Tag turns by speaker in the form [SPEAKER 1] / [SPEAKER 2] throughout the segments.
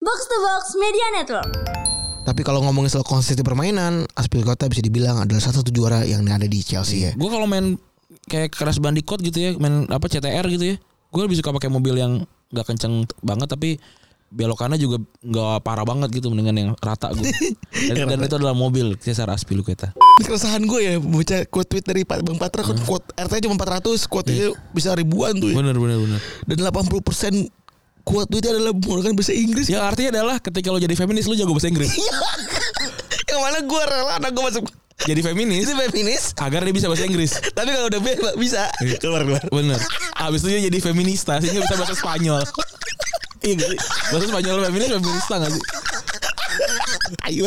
[SPEAKER 1] Box to Box Media Network.
[SPEAKER 2] Tapi kalau ngomongin soal konsistensi permainan, Aspilicueta bisa dibilang adalah salah satu juara yang ada di Chelsea ya.
[SPEAKER 3] Gue kalau main kayak keras bandikot gitu ya, main apa CTR gitu ya. Gue lebih suka pakai mobil yang nggak kenceng t- banget tapi belokannya juga nggak parah banget gitu mendingan yang rata gue. Dan, dan itu adalah mobil Cesar Aspilicueta.
[SPEAKER 2] Ini keresahan gue ya baca quote tweet dari Pak- Bang Patra quote, quote RT cuma 400 quote itu bisa ribuan tuh ya.
[SPEAKER 3] Bener bener bener.
[SPEAKER 2] Dan 80% quote tweetnya adalah menggunakan bahasa Inggris.
[SPEAKER 3] Ya artinya adalah ketika lo jadi feminis lo jago bahasa Inggris.
[SPEAKER 2] yang mana gue rela anak gue masuk
[SPEAKER 3] jadi feminis
[SPEAKER 2] itu feminis
[SPEAKER 3] agar dia bisa bahasa Inggris.
[SPEAKER 2] tapi kalau udah biar nggak bisa Iya, keluar keluar
[SPEAKER 3] Bener. Abis itu dia jadi feminista sehingga bisa bahasa Spanyol. Iya gak sih? Bahasa Spanyol feminis feminista gak sih?
[SPEAKER 2] ayo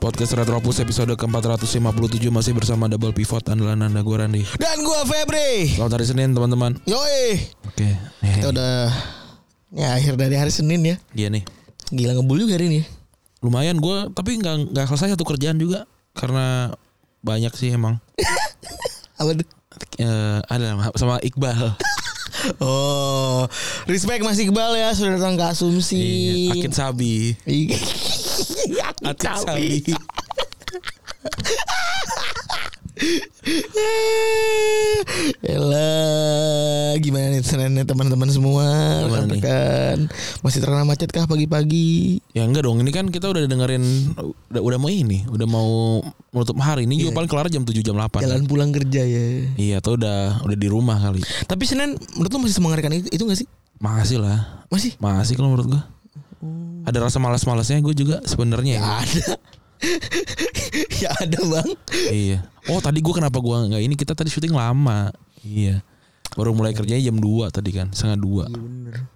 [SPEAKER 3] Podcast Retropus episode ke-457 masih bersama Double Pivot andalan Anda gue Randy.
[SPEAKER 2] dan gue Febri
[SPEAKER 3] Selamat hari Senin teman-teman.
[SPEAKER 2] yoi
[SPEAKER 3] Oke. Nih,
[SPEAKER 2] kita udah ya akhir dari hari Senin ya
[SPEAKER 3] Iya nih.
[SPEAKER 2] gila ngebul juga hari ini ya.
[SPEAKER 3] Lumayan gue tapi nggak nggak selesai satu kerjaan juga karena banyak sih emang.
[SPEAKER 2] apa tuh
[SPEAKER 3] Eh ada sama Iqbal.
[SPEAKER 2] oh respect Mas Iqbal ya sudah datang ke asumsi
[SPEAKER 3] Iya, Akid Sabi.
[SPEAKER 2] Iya.
[SPEAKER 3] Akid
[SPEAKER 2] Akit
[SPEAKER 3] Sabi.
[SPEAKER 2] sawi. Elah, Eh, gimana nih Seninnya teman-teman semua?
[SPEAKER 3] Gimana nih?
[SPEAKER 2] Rekan-rekan masih terkena macet kah pagi-pagi?
[SPEAKER 3] Ya enggak dong, ini kan kita udah dengerin udah, udah mau ini, udah mau menutup hari. Ini juga paling kelar jam 7 jam 8.
[SPEAKER 2] Jalan pulang kerja ya.
[SPEAKER 3] Iya, atau udah udah di rumah kali.
[SPEAKER 2] Tapi Senin menurut lu masih semengerikan itu, itu gak sih?
[SPEAKER 3] Makasih lah.
[SPEAKER 2] Masih?
[SPEAKER 3] Makasih kalau menurut gua. Ada rasa malas-malasnya gue juga sebenarnya ya.
[SPEAKER 2] Ada. ya ada bang.
[SPEAKER 3] Iya. Oh, tadi gua kenapa gua enggak ini? Kita tadi syuting lama. Iya. Baru mulai kerjanya jam 2 tadi kan, setengah 2.
[SPEAKER 2] Bener.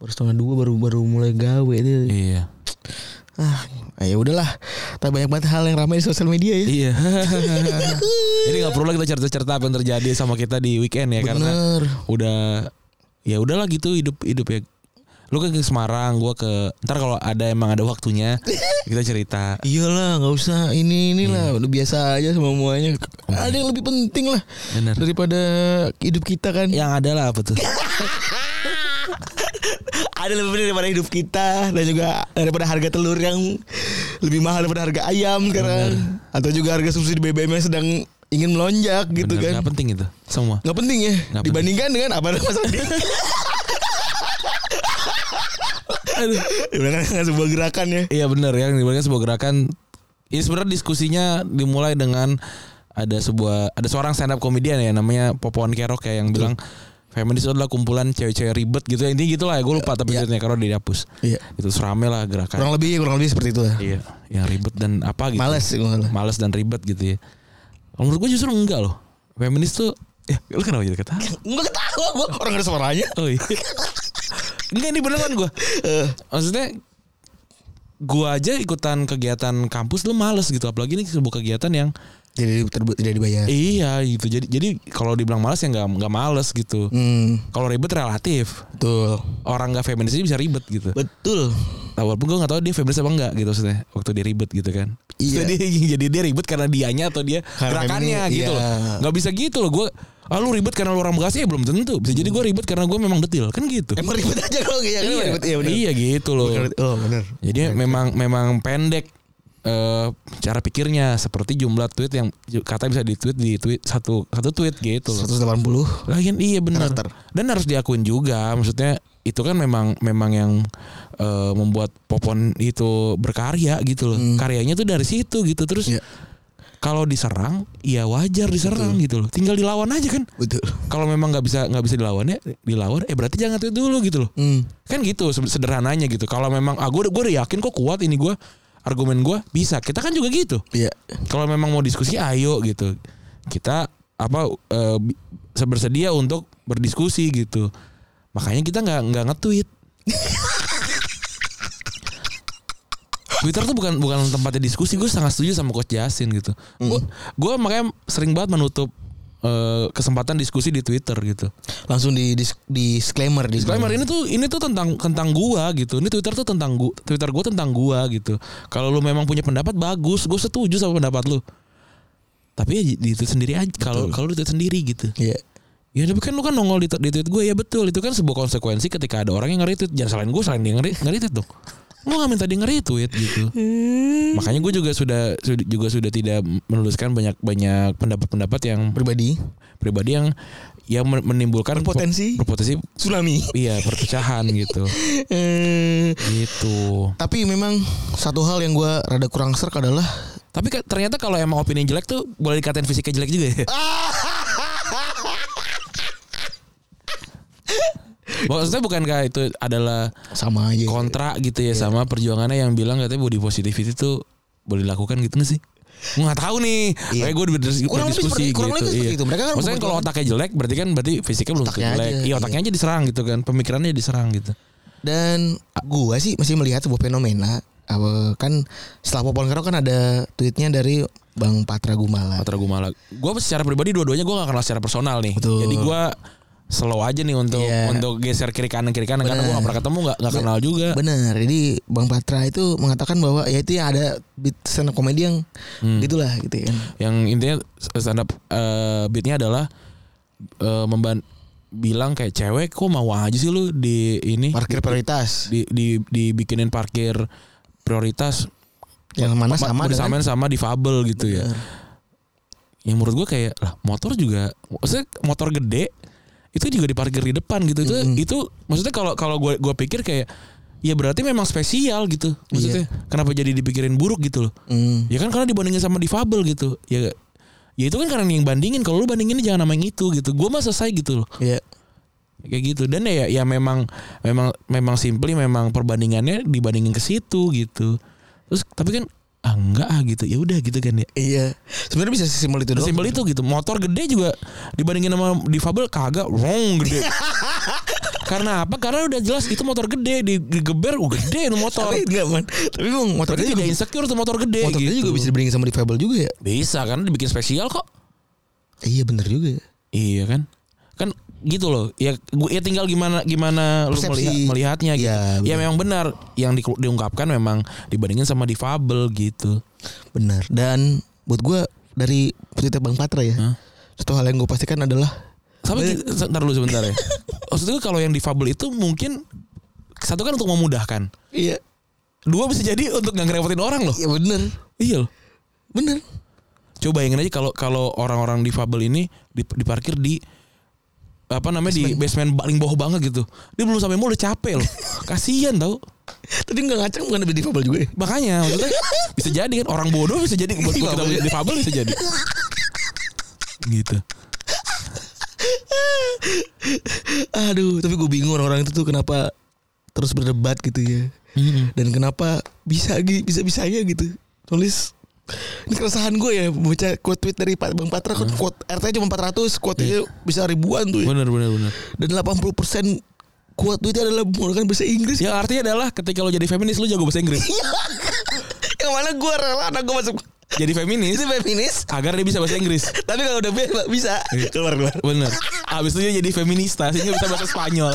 [SPEAKER 2] Baru setengah dua baru baru mulai gawe itu.
[SPEAKER 3] Iya.
[SPEAKER 2] Ah, ya udahlah. Tapi banyak banget hal yang ramai di sosial media ya.
[SPEAKER 3] Iya. Ini nggak perlu lah kita cerita-cerita apa yang terjadi sama kita di weekend ya karena
[SPEAKER 2] Bener.
[SPEAKER 3] udah ya udahlah gitu hidup hidup ya lu kan ke Semarang gua ke ntar kalau ada emang ada waktunya kita cerita
[SPEAKER 2] Iyalah, nggak usah ini inilah udah biasa aja semuanya. Ada yang lebih penting lah
[SPEAKER 3] Bener.
[SPEAKER 2] daripada hidup kita kan.
[SPEAKER 3] yang ada lah apa tuh
[SPEAKER 2] Ada lebih penting daripada hidup kita dan juga daripada harga telur yang lebih mahal daripada harga ayam sekarang atau juga harga subsidi BBM yang sedang ingin melonjak gitu
[SPEAKER 3] Bener,
[SPEAKER 2] kan.
[SPEAKER 3] nggak penting itu semua
[SPEAKER 2] Nggak penting ya
[SPEAKER 3] Nggak
[SPEAKER 2] dibandingkan dengan apa namanya
[SPEAKER 3] Aduh.
[SPEAKER 2] dibandingkan dengan sebuah gerakan ya.
[SPEAKER 3] iya bener yang diberikan sebuah gerakan ini sebenarnya diskusinya dimulai dengan ada sebuah ada seorang stand up komedian ya namanya Popon Kerok ya yang bilang feminis itu adalah kumpulan cewek-cewek ribet gitu ya intinya gitulah ya gue lupa tapi ceritanya karena udah dihapus
[SPEAKER 2] Iya.
[SPEAKER 3] itu serame lah gerakan
[SPEAKER 2] Kurang lebih kurang lebih seperti itu lah.
[SPEAKER 3] iya yang ribet dan apa gitu
[SPEAKER 2] Males gue nggak salah.
[SPEAKER 3] malas dan ribet gitu ya. Kalau menurut gue justru enggak loh. Feminis tuh ya lu kenapa jadi kata?
[SPEAKER 2] Gue ketawa gue orang ada suaranya.
[SPEAKER 3] Oh iya. enggak ini beneran gue.
[SPEAKER 2] Eh,
[SPEAKER 3] Maksudnya gue aja ikutan kegiatan kampus lu males gitu apalagi ini sebuah kegiatan yang
[SPEAKER 2] jadi terbu- tidak dibayar.
[SPEAKER 3] iya gitu jadi jadi kalau dibilang males ya nggak nggak males gitu
[SPEAKER 2] Hmm,
[SPEAKER 3] kalau ribet relatif
[SPEAKER 2] betul.
[SPEAKER 3] orang nggak feminis aja bisa ribet gitu
[SPEAKER 2] Betul.
[SPEAKER 3] Nah, walaupun gue nggak tahu dia feminis apa enggak gitu maksudnya waktu dia ribet gitu kan
[SPEAKER 2] Iya.
[SPEAKER 3] jadi jadi dia ribet karena dianya atau dia
[SPEAKER 2] Karena
[SPEAKER 3] gerakannya
[SPEAKER 2] feminis,
[SPEAKER 3] gitu
[SPEAKER 2] iya.
[SPEAKER 3] loh nggak bisa gitu loh gue ah lu ribet karena lu orang bekasi ya belum tentu bisa jadi gue ribet karena gue memang detil kan gitu
[SPEAKER 2] Emang ribet aja kalau kayak
[SPEAKER 3] iya,
[SPEAKER 2] ribet ya benar.
[SPEAKER 3] iya gitu loh Gitu
[SPEAKER 2] Oh benar.
[SPEAKER 3] jadi memang memang pendek eh cara pikirnya seperti jumlah tweet yang kata bisa ditweet di tweet satu satu tweet gitu loh
[SPEAKER 2] 180.
[SPEAKER 3] Lagian iya benar.
[SPEAKER 2] Karakter.
[SPEAKER 3] Dan harus diakuin juga, maksudnya itu kan memang memang yang eh, membuat Popon itu berkarya gitu loh. Karyanya tuh dari situ gitu. Terus
[SPEAKER 2] Iya.
[SPEAKER 3] kalau diserang, ya wajar diserang gitu loh. Tinggal dilawan aja kan.
[SPEAKER 2] Betul.
[SPEAKER 3] Kalau memang nggak bisa nggak bisa dilawan ya dilawan, eh berarti jangan tweet dulu gitu loh.
[SPEAKER 2] Hmm.
[SPEAKER 3] Kan gitu se- sederhananya gitu. Kalau memang ah gue gue udah yakin kok kuat ini gue argumen gue bisa. Kita kan juga gitu
[SPEAKER 2] Iya.
[SPEAKER 3] kalau memang mau diskusi ayo gitu kita apa eh, bi- bersedia untuk berdiskusi gitu makanya kita nggak nggak nge-tweet Twitter tuh bukan bukan tempatnya diskusi gue sangat setuju sama Coach Jasin gitu gue gue makanya sering banget menutup eh, kesempatan diskusi di Twitter gitu.
[SPEAKER 2] Langsung di, dis- disclaimer
[SPEAKER 3] Disclaimer ini tuh ini tuh tentang tentang gua gitu. Ini Twitter tuh tentang gua, Twitter gua tentang gua gitu. Kalau lu memang punya pendapat bagus, gua setuju sama pendapat lu. Tapi ya di tweet sendiri aja kalau kalau di tweet sendiri gitu.
[SPEAKER 2] Iya.
[SPEAKER 3] Ya tapi kan lu kan nongol di, di tweet gue ya betul itu kan sebuah konsekuensi ketika ada orang yang nge-retweet jangan salahin gue salahin dia nge- nge-retweet dong. Lu gak minta dia nge-retweet gitu. Makanya gue juga sudah sud- juga sudah tidak menuliskan banyak banyak pendapat-pendapat yang
[SPEAKER 2] Pribadi.
[SPEAKER 3] pribadi yang yang men- menimbulkan
[SPEAKER 2] Berpotensi.
[SPEAKER 3] po- berpotensi
[SPEAKER 2] Tsunami.
[SPEAKER 3] iya perpecahan gitu.
[SPEAKER 2] Eh,
[SPEAKER 3] Gitu.
[SPEAKER 2] tapi memang satu hal yang gua rada kurang serk adalah
[SPEAKER 3] Tapi ka- ternyata kalau emang opini jelek tuh boleh dikatain fisiknya jelek juga ya. Maksudnya bukankah itu adalah
[SPEAKER 2] sama aja.
[SPEAKER 3] kontra gitu
[SPEAKER 2] Iya.
[SPEAKER 3] ya sama perjuangannya yang bilang katanya body positivity tuh boleh dilakukan gitu gak sih? Gue gak tahu nih.
[SPEAKER 2] Iya.
[SPEAKER 3] Kayak gue berdiskusi
[SPEAKER 2] Kurang lebih seperti- kurang
[SPEAKER 3] gitu.
[SPEAKER 2] lebih seperti itu. Mereka kan
[SPEAKER 3] Maksudnya kalau
[SPEAKER 2] kebetulan-
[SPEAKER 3] otaknya jelek berarti kan berarti fisiknya belum
[SPEAKER 2] Otaknya
[SPEAKER 3] tentu jelek.
[SPEAKER 2] aja,
[SPEAKER 3] Iya otaknya aja diserang gitu kan. Pemikirannya diserang gitu.
[SPEAKER 2] Dan gua sih masih melihat sebuah fenomena apa kan setelah Popon Kero kan ada tweetnya dari Bang Patra Gumala.
[SPEAKER 3] Patra Gumala. Gue secara pribadi dua-duanya gue gak kenal secara personal nih.
[SPEAKER 2] Betul.
[SPEAKER 3] Jadi gue slow aja nih untuk
[SPEAKER 2] Iya.
[SPEAKER 3] untuk geser kiri kanan kiri kanan karena gue gak pernah ketemu gak, gak kenal juga.
[SPEAKER 2] Bener. Jadi Bang Patra itu mengatakan bahwa ya itu yang ada beat stand up comedy yang
[SPEAKER 3] Hmm.
[SPEAKER 2] gitulah gitu kan.
[SPEAKER 3] Yang intinya stand up eh, beatnya adalah eh, memban bilang kayak cewek kok mau aja sih lu di ini
[SPEAKER 2] Parkir prioritas
[SPEAKER 3] gitu. di, di dibikinin parkir prioritas
[SPEAKER 2] yang mana sama dengan
[SPEAKER 3] bersama sama difabel gitu ya. Yang menurut gue kayak lah motor juga maksudnya motor gede itu juga diparkir di depan gitu. Itu itu maksudnya kalau kalau gue gua pikir kayak ya berarti memang spesial gitu. Maksudnya kenapa jadi dipikirin buruk gitu loh.
[SPEAKER 2] Hmm.
[SPEAKER 3] Ya kan karena dibandingin sama difabel gitu. Ya ya itu kan karena yang bandingin kalau lu bandingin jangan sama yang itu gitu. Gue mah selesai gitu loh
[SPEAKER 2] Iya.
[SPEAKER 3] kayak gitu dan ya ya memang memang memang simply memang perbandingannya dibandingin ke situ gitu terus tapi kan ah enggak ah gitu ya udah gitu kan ya
[SPEAKER 2] Iya. Sebenarnya bisa sesimpel itu doang.
[SPEAKER 3] simpel itu gitu motor gede juga dibandingin sama difabel kagak wrong gede karena apa karena udah jelas itu motor gede digeber oh, gede itu motor
[SPEAKER 2] Tapi enggak man. Tapi emang motor gede
[SPEAKER 3] berarti tidak
[SPEAKER 2] juga
[SPEAKER 3] insecure tuh motor gede
[SPEAKER 2] motor gede
[SPEAKER 3] gitu
[SPEAKER 2] juga bisa dibandingin sama difabel juga ya.
[SPEAKER 3] bisa karena dibikin spesial kok
[SPEAKER 2] Iya bener juga. ya.
[SPEAKER 3] iya kan kan gitu loh ya gua ya tinggal gimana gimana lu
[SPEAKER 2] Persepsi.
[SPEAKER 3] melihat melihatnya gitu
[SPEAKER 2] Iya,
[SPEAKER 3] ya, memang benar yang di- diungkapkan memang dibandingin sama difabel gitu
[SPEAKER 2] Benar. Dan buat gue dari tweetnya Bang Patra ya.
[SPEAKER 3] Hah?
[SPEAKER 2] Satu hal yang gue pastikan adalah
[SPEAKER 3] tapi ki- ntar dulu sebentar ya maksud gue kalau yang difabel itu mungkin satu kan untuk memudahkan
[SPEAKER 2] Iya.
[SPEAKER 3] dua bisa jadi untuk nggak ngerepotin orang loh
[SPEAKER 2] Iya bener.
[SPEAKER 3] iya loh
[SPEAKER 2] Bener.
[SPEAKER 3] coba bayangin aja kalau kalau orang-orang difabel ini dip- diparkir di apa namanya di basement paling bawah banget gitu dia belum sampai mall udah capek loh kasihan tau
[SPEAKER 2] Tadi nggak ngacang bukan lebih difabel juga ya.
[SPEAKER 3] Makanya maksudnya bisa jadi kan orang bodoh bisa jadi buat buat kita
[SPEAKER 2] Difabel.
[SPEAKER 3] difabel bisa jadi. gitu.
[SPEAKER 2] Aduh. Tapi gue bingung orang-orang itu tuh kenapa terus berdebat gitu ya. Dan kenapa bisa bisa bisanya gitu nulis ini keresahan gue ya baca quote tweet dari Pak- Bang Patra kan quote RT cuma 400 quote nya bisa ribuan tuh ya.
[SPEAKER 3] Bener bener bener.
[SPEAKER 2] dan 80% quote tweetnya adalah menggunakan bahasa Inggris
[SPEAKER 3] Yang Ya, artinya adalah ketika lo jadi feminis lo jago bahasa Inggris.
[SPEAKER 2] yang mana gue rela anak gue masuk
[SPEAKER 3] Jadi feminis
[SPEAKER 2] itu feminis
[SPEAKER 3] agar dia bisa bahasa Inggris.
[SPEAKER 2] tapi kalau udah bebas bisa Iya, keluar keluar
[SPEAKER 3] Bener. Abis itu dia jadi feminista sehingga bisa bahasa Spanyol.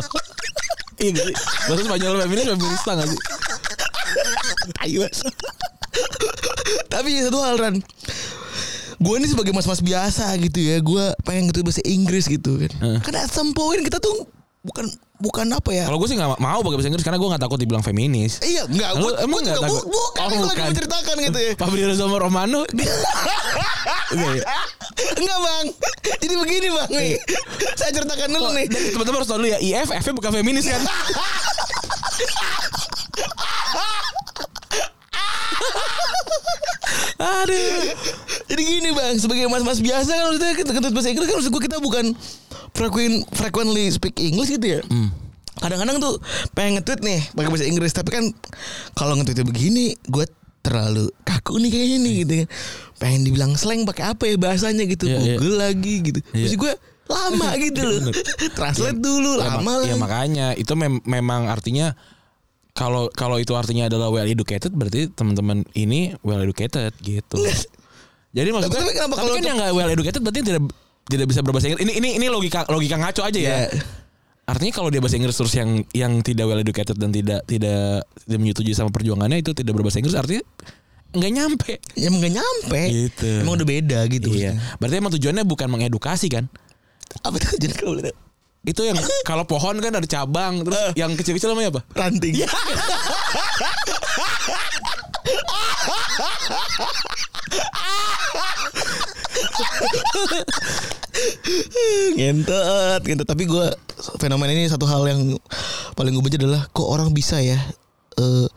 [SPEAKER 3] Iya nggak sih? Bahasa Spanyol feminis feminista gak sih?
[SPEAKER 2] Ayo. tapi satu hal Ran gue ini sebagai mas-mas biasa gitu ya gue pengen ngerti bahasa Inggris gitu kan
[SPEAKER 3] Heeh.
[SPEAKER 2] karena at some point kita tuh bukan bukan apa ya
[SPEAKER 3] Kalau gue sih gak mau pakai bahasa Inggris karena gue gak takut dibilang feminis.
[SPEAKER 2] iya enggak
[SPEAKER 3] Lu
[SPEAKER 2] gue
[SPEAKER 3] emang nggak
[SPEAKER 2] juga bu,
[SPEAKER 3] takut?
[SPEAKER 2] bukan
[SPEAKER 3] Oh,
[SPEAKER 2] itu lagi
[SPEAKER 3] bukan.
[SPEAKER 2] menceritakan gitu ya
[SPEAKER 3] Fabrizio Romo Romano dia Enggak ya?
[SPEAKER 2] enggak bang jadi begini bang nih
[SPEAKER 3] Iya.
[SPEAKER 2] saya ceritakan dulu nih
[SPEAKER 3] Dan teman-teman harus tahu dulu ya IF F bukan feminis kan Aduh
[SPEAKER 2] Jadi gini bang, sebagai mas-mas biasa kan maksudnya kita ketut bahasa Inggris kan maksud gue kita bukan frequent, frequently speak English gitu ya.
[SPEAKER 3] Hmm.
[SPEAKER 2] Kadang-kadang tuh pengen nge-tweet nih pakai bahasa Inggris tapi kan kalau nge-tweetnya begini gue terlalu kaku nih kayaknya nih gitu kan. Pengen dibilang slang pakai apa ya bahasanya gitu.
[SPEAKER 3] Iya, iya.
[SPEAKER 2] Google lagi gitu. Terus
[SPEAKER 3] Iya.
[SPEAKER 2] gue lama gitu loh. Translate dulu
[SPEAKER 3] ya,
[SPEAKER 2] lama
[SPEAKER 3] mak-
[SPEAKER 2] lah.
[SPEAKER 3] ya makanya itu mem- memang artinya kalau kalau itu artinya adalah well educated berarti teman-teman ini well educated gitu. Jadi maksudnya
[SPEAKER 2] Tapi- tapi
[SPEAKER 3] tapi,
[SPEAKER 2] kenapa kalau
[SPEAKER 3] kan
[SPEAKER 2] untuk-
[SPEAKER 3] yang nggak well educated berarti tidak tidak bisa berbahasa Inggris. Ini ini ini logika logika ngaco aja ya.
[SPEAKER 2] Iya.
[SPEAKER 3] Artinya kalau dia bahasa Inggris terus yang yang tidak well educated dan tidak tidak tidak menyetujui sama perjuangannya itu tidak berbahasa Inggris artinya nggak nyampe.
[SPEAKER 2] Ya emang gak nyampe.
[SPEAKER 3] Gitu.
[SPEAKER 2] Emang udah beda gitu.
[SPEAKER 3] Iya. Berarti emang tujuannya bukan mengedukasi kan?
[SPEAKER 2] Apa tuh jadi kalau boleh tahu?
[SPEAKER 3] Itu yang kalau pohon kan ada cabang terus yang kecil-kecil namanya apa?
[SPEAKER 2] ranting.
[SPEAKER 3] Ya.
[SPEAKER 2] ngentot, ngentot. Tapi gue fenomena ini satu hal yang paling gue benci adalah kok orang bisa ya eh,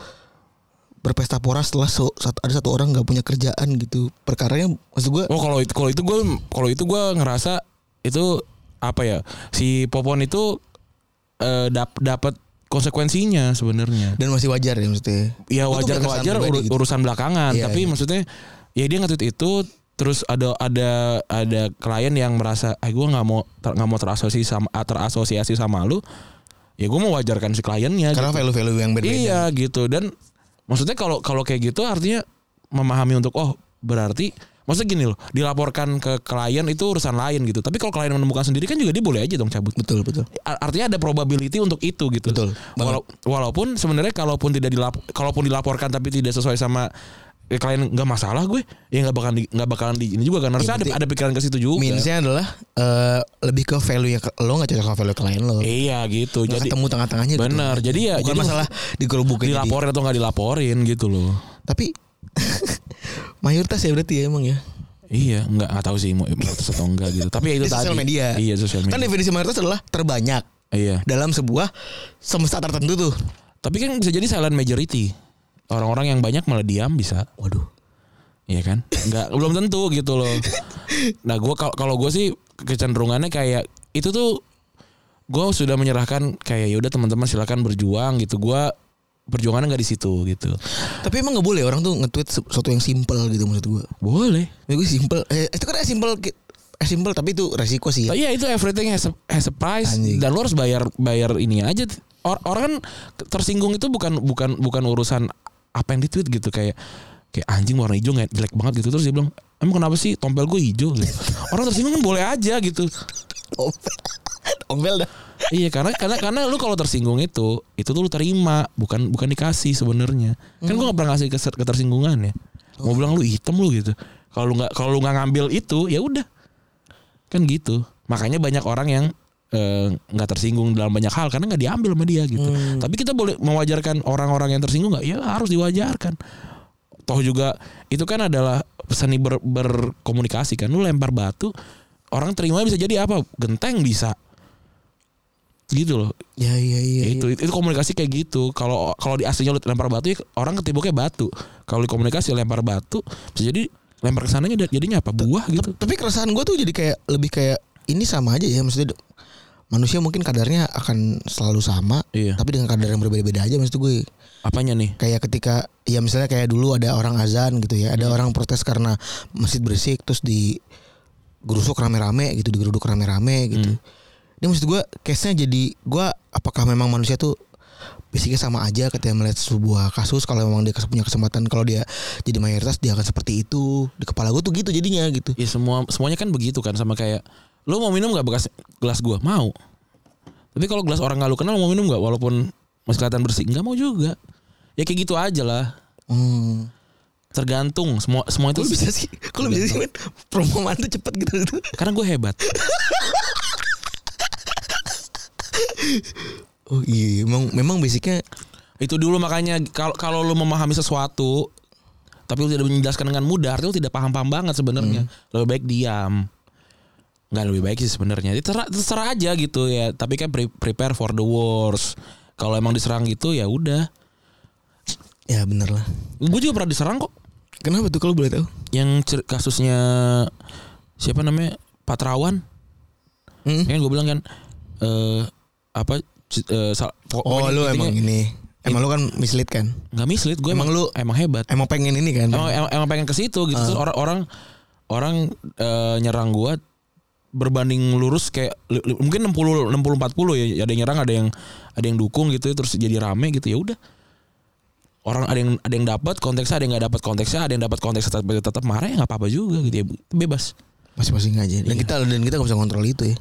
[SPEAKER 2] berpesta pora setelah so- sat- ada satu orang nggak punya kerjaan gitu. Perkaranya maksud gue
[SPEAKER 3] Oh kalau itu kalau itu gue kalau itu gue ngerasa itu apa ya si Popon itu eh, dap- dapat konsekuensinya sebenarnya.
[SPEAKER 2] dan masih wajar ya maksudnya.
[SPEAKER 3] Ya
[SPEAKER 2] Itu
[SPEAKER 3] wajar
[SPEAKER 2] keresahan
[SPEAKER 3] wajar
[SPEAKER 2] pribadi
[SPEAKER 3] uru-
[SPEAKER 2] gitu.
[SPEAKER 3] urusan belakangan
[SPEAKER 2] Iya,
[SPEAKER 3] tapi
[SPEAKER 2] iya.
[SPEAKER 3] maksudnya ya dia nge-tweet itu terus ada ada ada klien yang merasa eh gue nggak mau ter- nggak mau terasosiasi sama ah, terasosiasi sama lu ya gue mau wajarkan si kliennya
[SPEAKER 2] Karena
[SPEAKER 3] gitu.
[SPEAKER 2] value-value yang berbeda.
[SPEAKER 3] iya gitu dan maksudnya kalau kalau kayak gitu artinya memahami untuk oh berarti maksudnya gini loh dilaporkan ke klien itu urusan lain gitu tapi kalau klien menemukan sendiri kan juga dia boleh aja dong cabut
[SPEAKER 2] Betul betul.
[SPEAKER 3] A- artinya ada probability untuk itu gitu.
[SPEAKER 2] Betul,
[SPEAKER 3] Wala- walaupun sebenarnya kalaupun tidak dilap kalaupun dilaporkan tapi tidak sesuai sama eh, klien nggak masalah gue. Ya nggak bakalan di- nggak bakalan di ini juga kan. Harusnya ada
[SPEAKER 2] berarti-
[SPEAKER 3] ada pikiran ke situ juga.
[SPEAKER 2] Meansnya adalah eh, lebih ke value ya lo nggak cocok sama value klien lo.
[SPEAKER 3] Iya gitu.
[SPEAKER 2] Nggak
[SPEAKER 3] Jadi
[SPEAKER 2] ketemu tengah-tengahnya gitu.
[SPEAKER 3] benar. Jadi ya
[SPEAKER 2] Bukan
[SPEAKER 3] jadi
[SPEAKER 2] masalah digerobokin jadi-
[SPEAKER 3] dilaporin atau nggak dilaporin gitu loh.
[SPEAKER 2] Tapi mayoritas ya berarti ya emang ya.
[SPEAKER 3] Iya, nggak nggak tahu sih mau protes atau enggak gitu. Tapi ya itu
[SPEAKER 2] Di
[SPEAKER 3] tadi.
[SPEAKER 2] sosial media.
[SPEAKER 3] Iya, sosial media.
[SPEAKER 2] Kan definisi mayoritas adalah terbanyak
[SPEAKER 3] iya.
[SPEAKER 2] dalam sebuah semesta tertentu tuh.
[SPEAKER 3] Tapi kan bisa jadi silent majority. Orang-orang yang banyak malah diam bisa.
[SPEAKER 2] Waduh.
[SPEAKER 3] Iya kan? Nggak belum tentu gitu loh. Nah, gua kal- kalau gue sih kecenderungannya kayak itu tuh gue sudah menyerahkan kayak yaudah teman-teman silakan berjuang gitu. Gua perjuangannya nggak di situ gitu.
[SPEAKER 2] Tapi emang nggak boleh orang tuh nge-tweet se- sesuatu yang simple gitu maksud gue.
[SPEAKER 3] Boleh.
[SPEAKER 2] Ya gue simple. Eh, itu kan simple simple tapi itu resiko sih ya.
[SPEAKER 3] Iya itu everything has a, has a price
[SPEAKER 2] Anjing.
[SPEAKER 3] dan lo harus bayar bayar ini aja. Or- orang kan tersinggung itu bukan bukan bukan urusan apa yang ditweet gitu kayak kayak anjing warna hijau nggak jelek banget gitu terus dia bilang emang kenapa sih tompel gue hijau gitu. orang tersinggung kan boleh aja gitu
[SPEAKER 2] Ombel dah.
[SPEAKER 3] iya karena karena karena lu kalau tersinggung itu itu tuh lu terima bukan bukan dikasih sebenarnya kan gua nggak pernah ngasih keser- ketersinggungan ya mau bilang lu hitam lu gitu kalau lu nggak kalau lu nggak ngambil itu ya udah kan gitu makanya banyak orang yang eh, nggak tersinggung dalam banyak hal karena nggak diambil sama dia gitu tapi kita boleh mewajarkan orang-orang yang tersinggung nggak ya harus diwajarkan toh juga itu kan adalah seni ber- berkomunikasi kan lu lempar batu orang terima bisa jadi apa genteng bisa gitu loh
[SPEAKER 2] Ya iya iya.
[SPEAKER 3] Ya
[SPEAKER 2] iya.
[SPEAKER 3] itu itu komunikasi kayak gitu kalau kalau di aslinya lu lempar batu ya orang ketibuknya batu kalau di komunikasi lempar batu bisa jadi lempar kesananya jad- jadinya apa buah gitu
[SPEAKER 2] Tapi keresahan gue tuh jadi kayak lebih kayak ini sama aja ya maksudnya d- manusia mungkin kadarnya akan selalu sama,
[SPEAKER 3] Iya.
[SPEAKER 2] tapi dengan kadar yang berbeda-beda aja maksud gue.
[SPEAKER 3] apanya nih
[SPEAKER 2] Kayak ketika ya misalnya kayak dulu ada orang azan gitu ya, ada orang protes karena masjid berisik terus di gerusuk rame-rame gitu, digeruduk rame-rame gitu. Ini maksud gue case-nya jadi gue apakah memang manusia tuh basicnya sama aja ketika melihat sebuah kasus kalau memang dia kes- punya kesempatan kalau dia jadi mayoritas dia akan seperti itu di kepala gue tuh gitu jadinya gitu
[SPEAKER 3] ya semua semuanya kan begitu kan sama kayak lu mau minum nggak bekas gelas gua mau tapi kalau gelas orang nggak lu kenal mau minum nggak walaupun masih kelihatan bersih nggak mau juga ya kayak gitu aja lah
[SPEAKER 2] Hmm.
[SPEAKER 3] tergantung semua
[SPEAKER 2] Kok
[SPEAKER 3] semua itu
[SPEAKER 2] lu bisa sih? Kok lu bisa sih men? Promo mantu cepet gitu gitu.
[SPEAKER 3] karena gue hebat
[SPEAKER 2] Oh iya, iya. memang memang basicnya
[SPEAKER 3] Itu dulu makanya kalau kalau lu memahami sesuatu tapi lu tidak menjelaskan dengan mudah, artinya lu tidak paham-paham banget sebenarnya.
[SPEAKER 2] Hmm.
[SPEAKER 3] Lebih baik diam. Enggak lebih baik sih sebenarnya. Ya Terserah, terserah aja gitu ya. Tapi kan pre- prepare for the worst. Kalau emang diserang gitu ya udah.
[SPEAKER 2] ya bener lah.
[SPEAKER 3] Gue juga pernah diserang kok.
[SPEAKER 2] Kenapa tuh kalau boleh tahu?
[SPEAKER 3] Yang cer- kasusnya siapa namanya? Patrawan.
[SPEAKER 2] Hmm?
[SPEAKER 3] Kan gue bilang kan eh apa c- eh, sal-
[SPEAKER 2] Oh,
[SPEAKER 3] pokoknya
[SPEAKER 2] lu
[SPEAKER 3] intinya
[SPEAKER 2] emang ini. Emang lu kan mislead kan?
[SPEAKER 3] nggak mislead gue
[SPEAKER 2] Emang lu-
[SPEAKER 3] emang, emang hebat
[SPEAKER 2] Emang pengen ini kan?
[SPEAKER 3] emang, emang, emang pengen ke situ gitu terus orang orang orang eh, nyerang gua berbanding lurus kayak li- li- mungkin 60 60 40 ya ada yang nyerang ada yang ada yang dukung gitu terus jadi rame gitu ya udah orang ada yang ada yang dapat konteksnya ada yang nggak dapat konteksnya ada yang dapat konteksnya tapi tetap marah ya nggak apa-apa juga gitu ya bebas
[SPEAKER 2] masing-masing aja. Dan kita dan kita nggak bisa kontrol itu ya.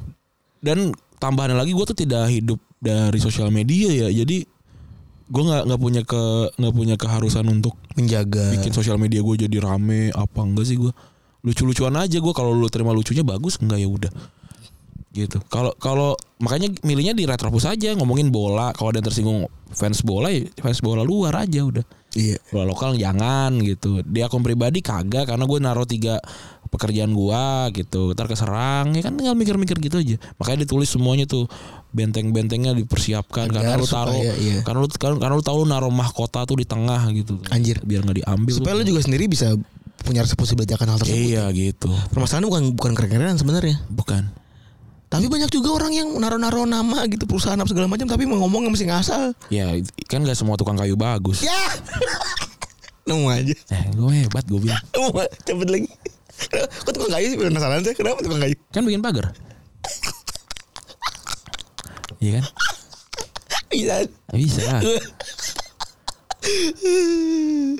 [SPEAKER 3] dan tambahannya lagi gue tuh tidak hidup dari sosial media ya jadi gue nggak nggak punya ke nggak punya keharusan untuk
[SPEAKER 2] Menjaga.
[SPEAKER 3] bikin sosial media gue jadi rame apa enggak sih gue lucu-lucuan aja gue kalau lu terima lucunya bagus enggak ya udah gitu kalau kalau makanya milihnya di retropus aja ngomongin bola kalau ada yang tersinggung fans bola ya fans bola luar aja udah
[SPEAKER 2] Iya.
[SPEAKER 3] bola lokal jangan gitu di akun pribadi kagak karena gue naruh tiga pekerjaan gua gitu ntar keserang ya kan tinggal mikir-mikir gitu aja makanya ditulis semuanya tuh benteng-bentengnya dipersiapkan
[SPEAKER 2] Agar
[SPEAKER 3] karena lu
[SPEAKER 2] supaya,
[SPEAKER 3] taruh
[SPEAKER 2] iya.
[SPEAKER 3] karena lu karena, karena lu tahu lu naruh mahkota tuh di tengah gitu
[SPEAKER 2] Anjir.
[SPEAKER 3] biar nggak diambil
[SPEAKER 2] Supaya lu juga sendiri bisa punya resep untuk belajarkan hal tersebut.
[SPEAKER 3] Iya gitu.
[SPEAKER 2] Permasalahan bukan bukan keren-kerenan sebenarnya.
[SPEAKER 3] Bukan.
[SPEAKER 2] Tapi banyak juga orang yang naro-naro nama gitu perusahaan apa segala macam tapi mau ngomong yang masih ngasal.
[SPEAKER 3] Ya kan gak semua tukang kayu bagus.
[SPEAKER 2] Ya. Nemu aja.
[SPEAKER 3] Eh gue hebat gue bilang.
[SPEAKER 2] Nemu aja. cepet lagi. Kenapa- Kok tukang kayu sih penasaran saya kenapa tukang kayu?
[SPEAKER 3] Kan bikin pagar. Iya kan?
[SPEAKER 2] Bisa.
[SPEAKER 3] Bisa.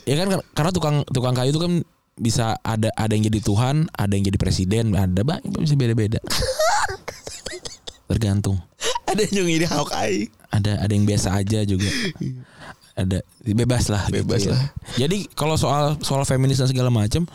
[SPEAKER 3] Ya kan kar- karena tukang tukang kayu itu kan bisa ada ada yang jadi Tuhan, ada yang jadi presiden, ada banyak bisa beda-beda. Tergantung.
[SPEAKER 2] Ada yang ini Hawkeye.
[SPEAKER 3] ada ada yang biasa aja juga ada bebas lah gitu
[SPEAKER 2] Bebas
[SPEAKER 3] ya.
[SPEAKER 2] lah.
[SPEAKER 3] jadi kalau soal soal feminis dan segala macam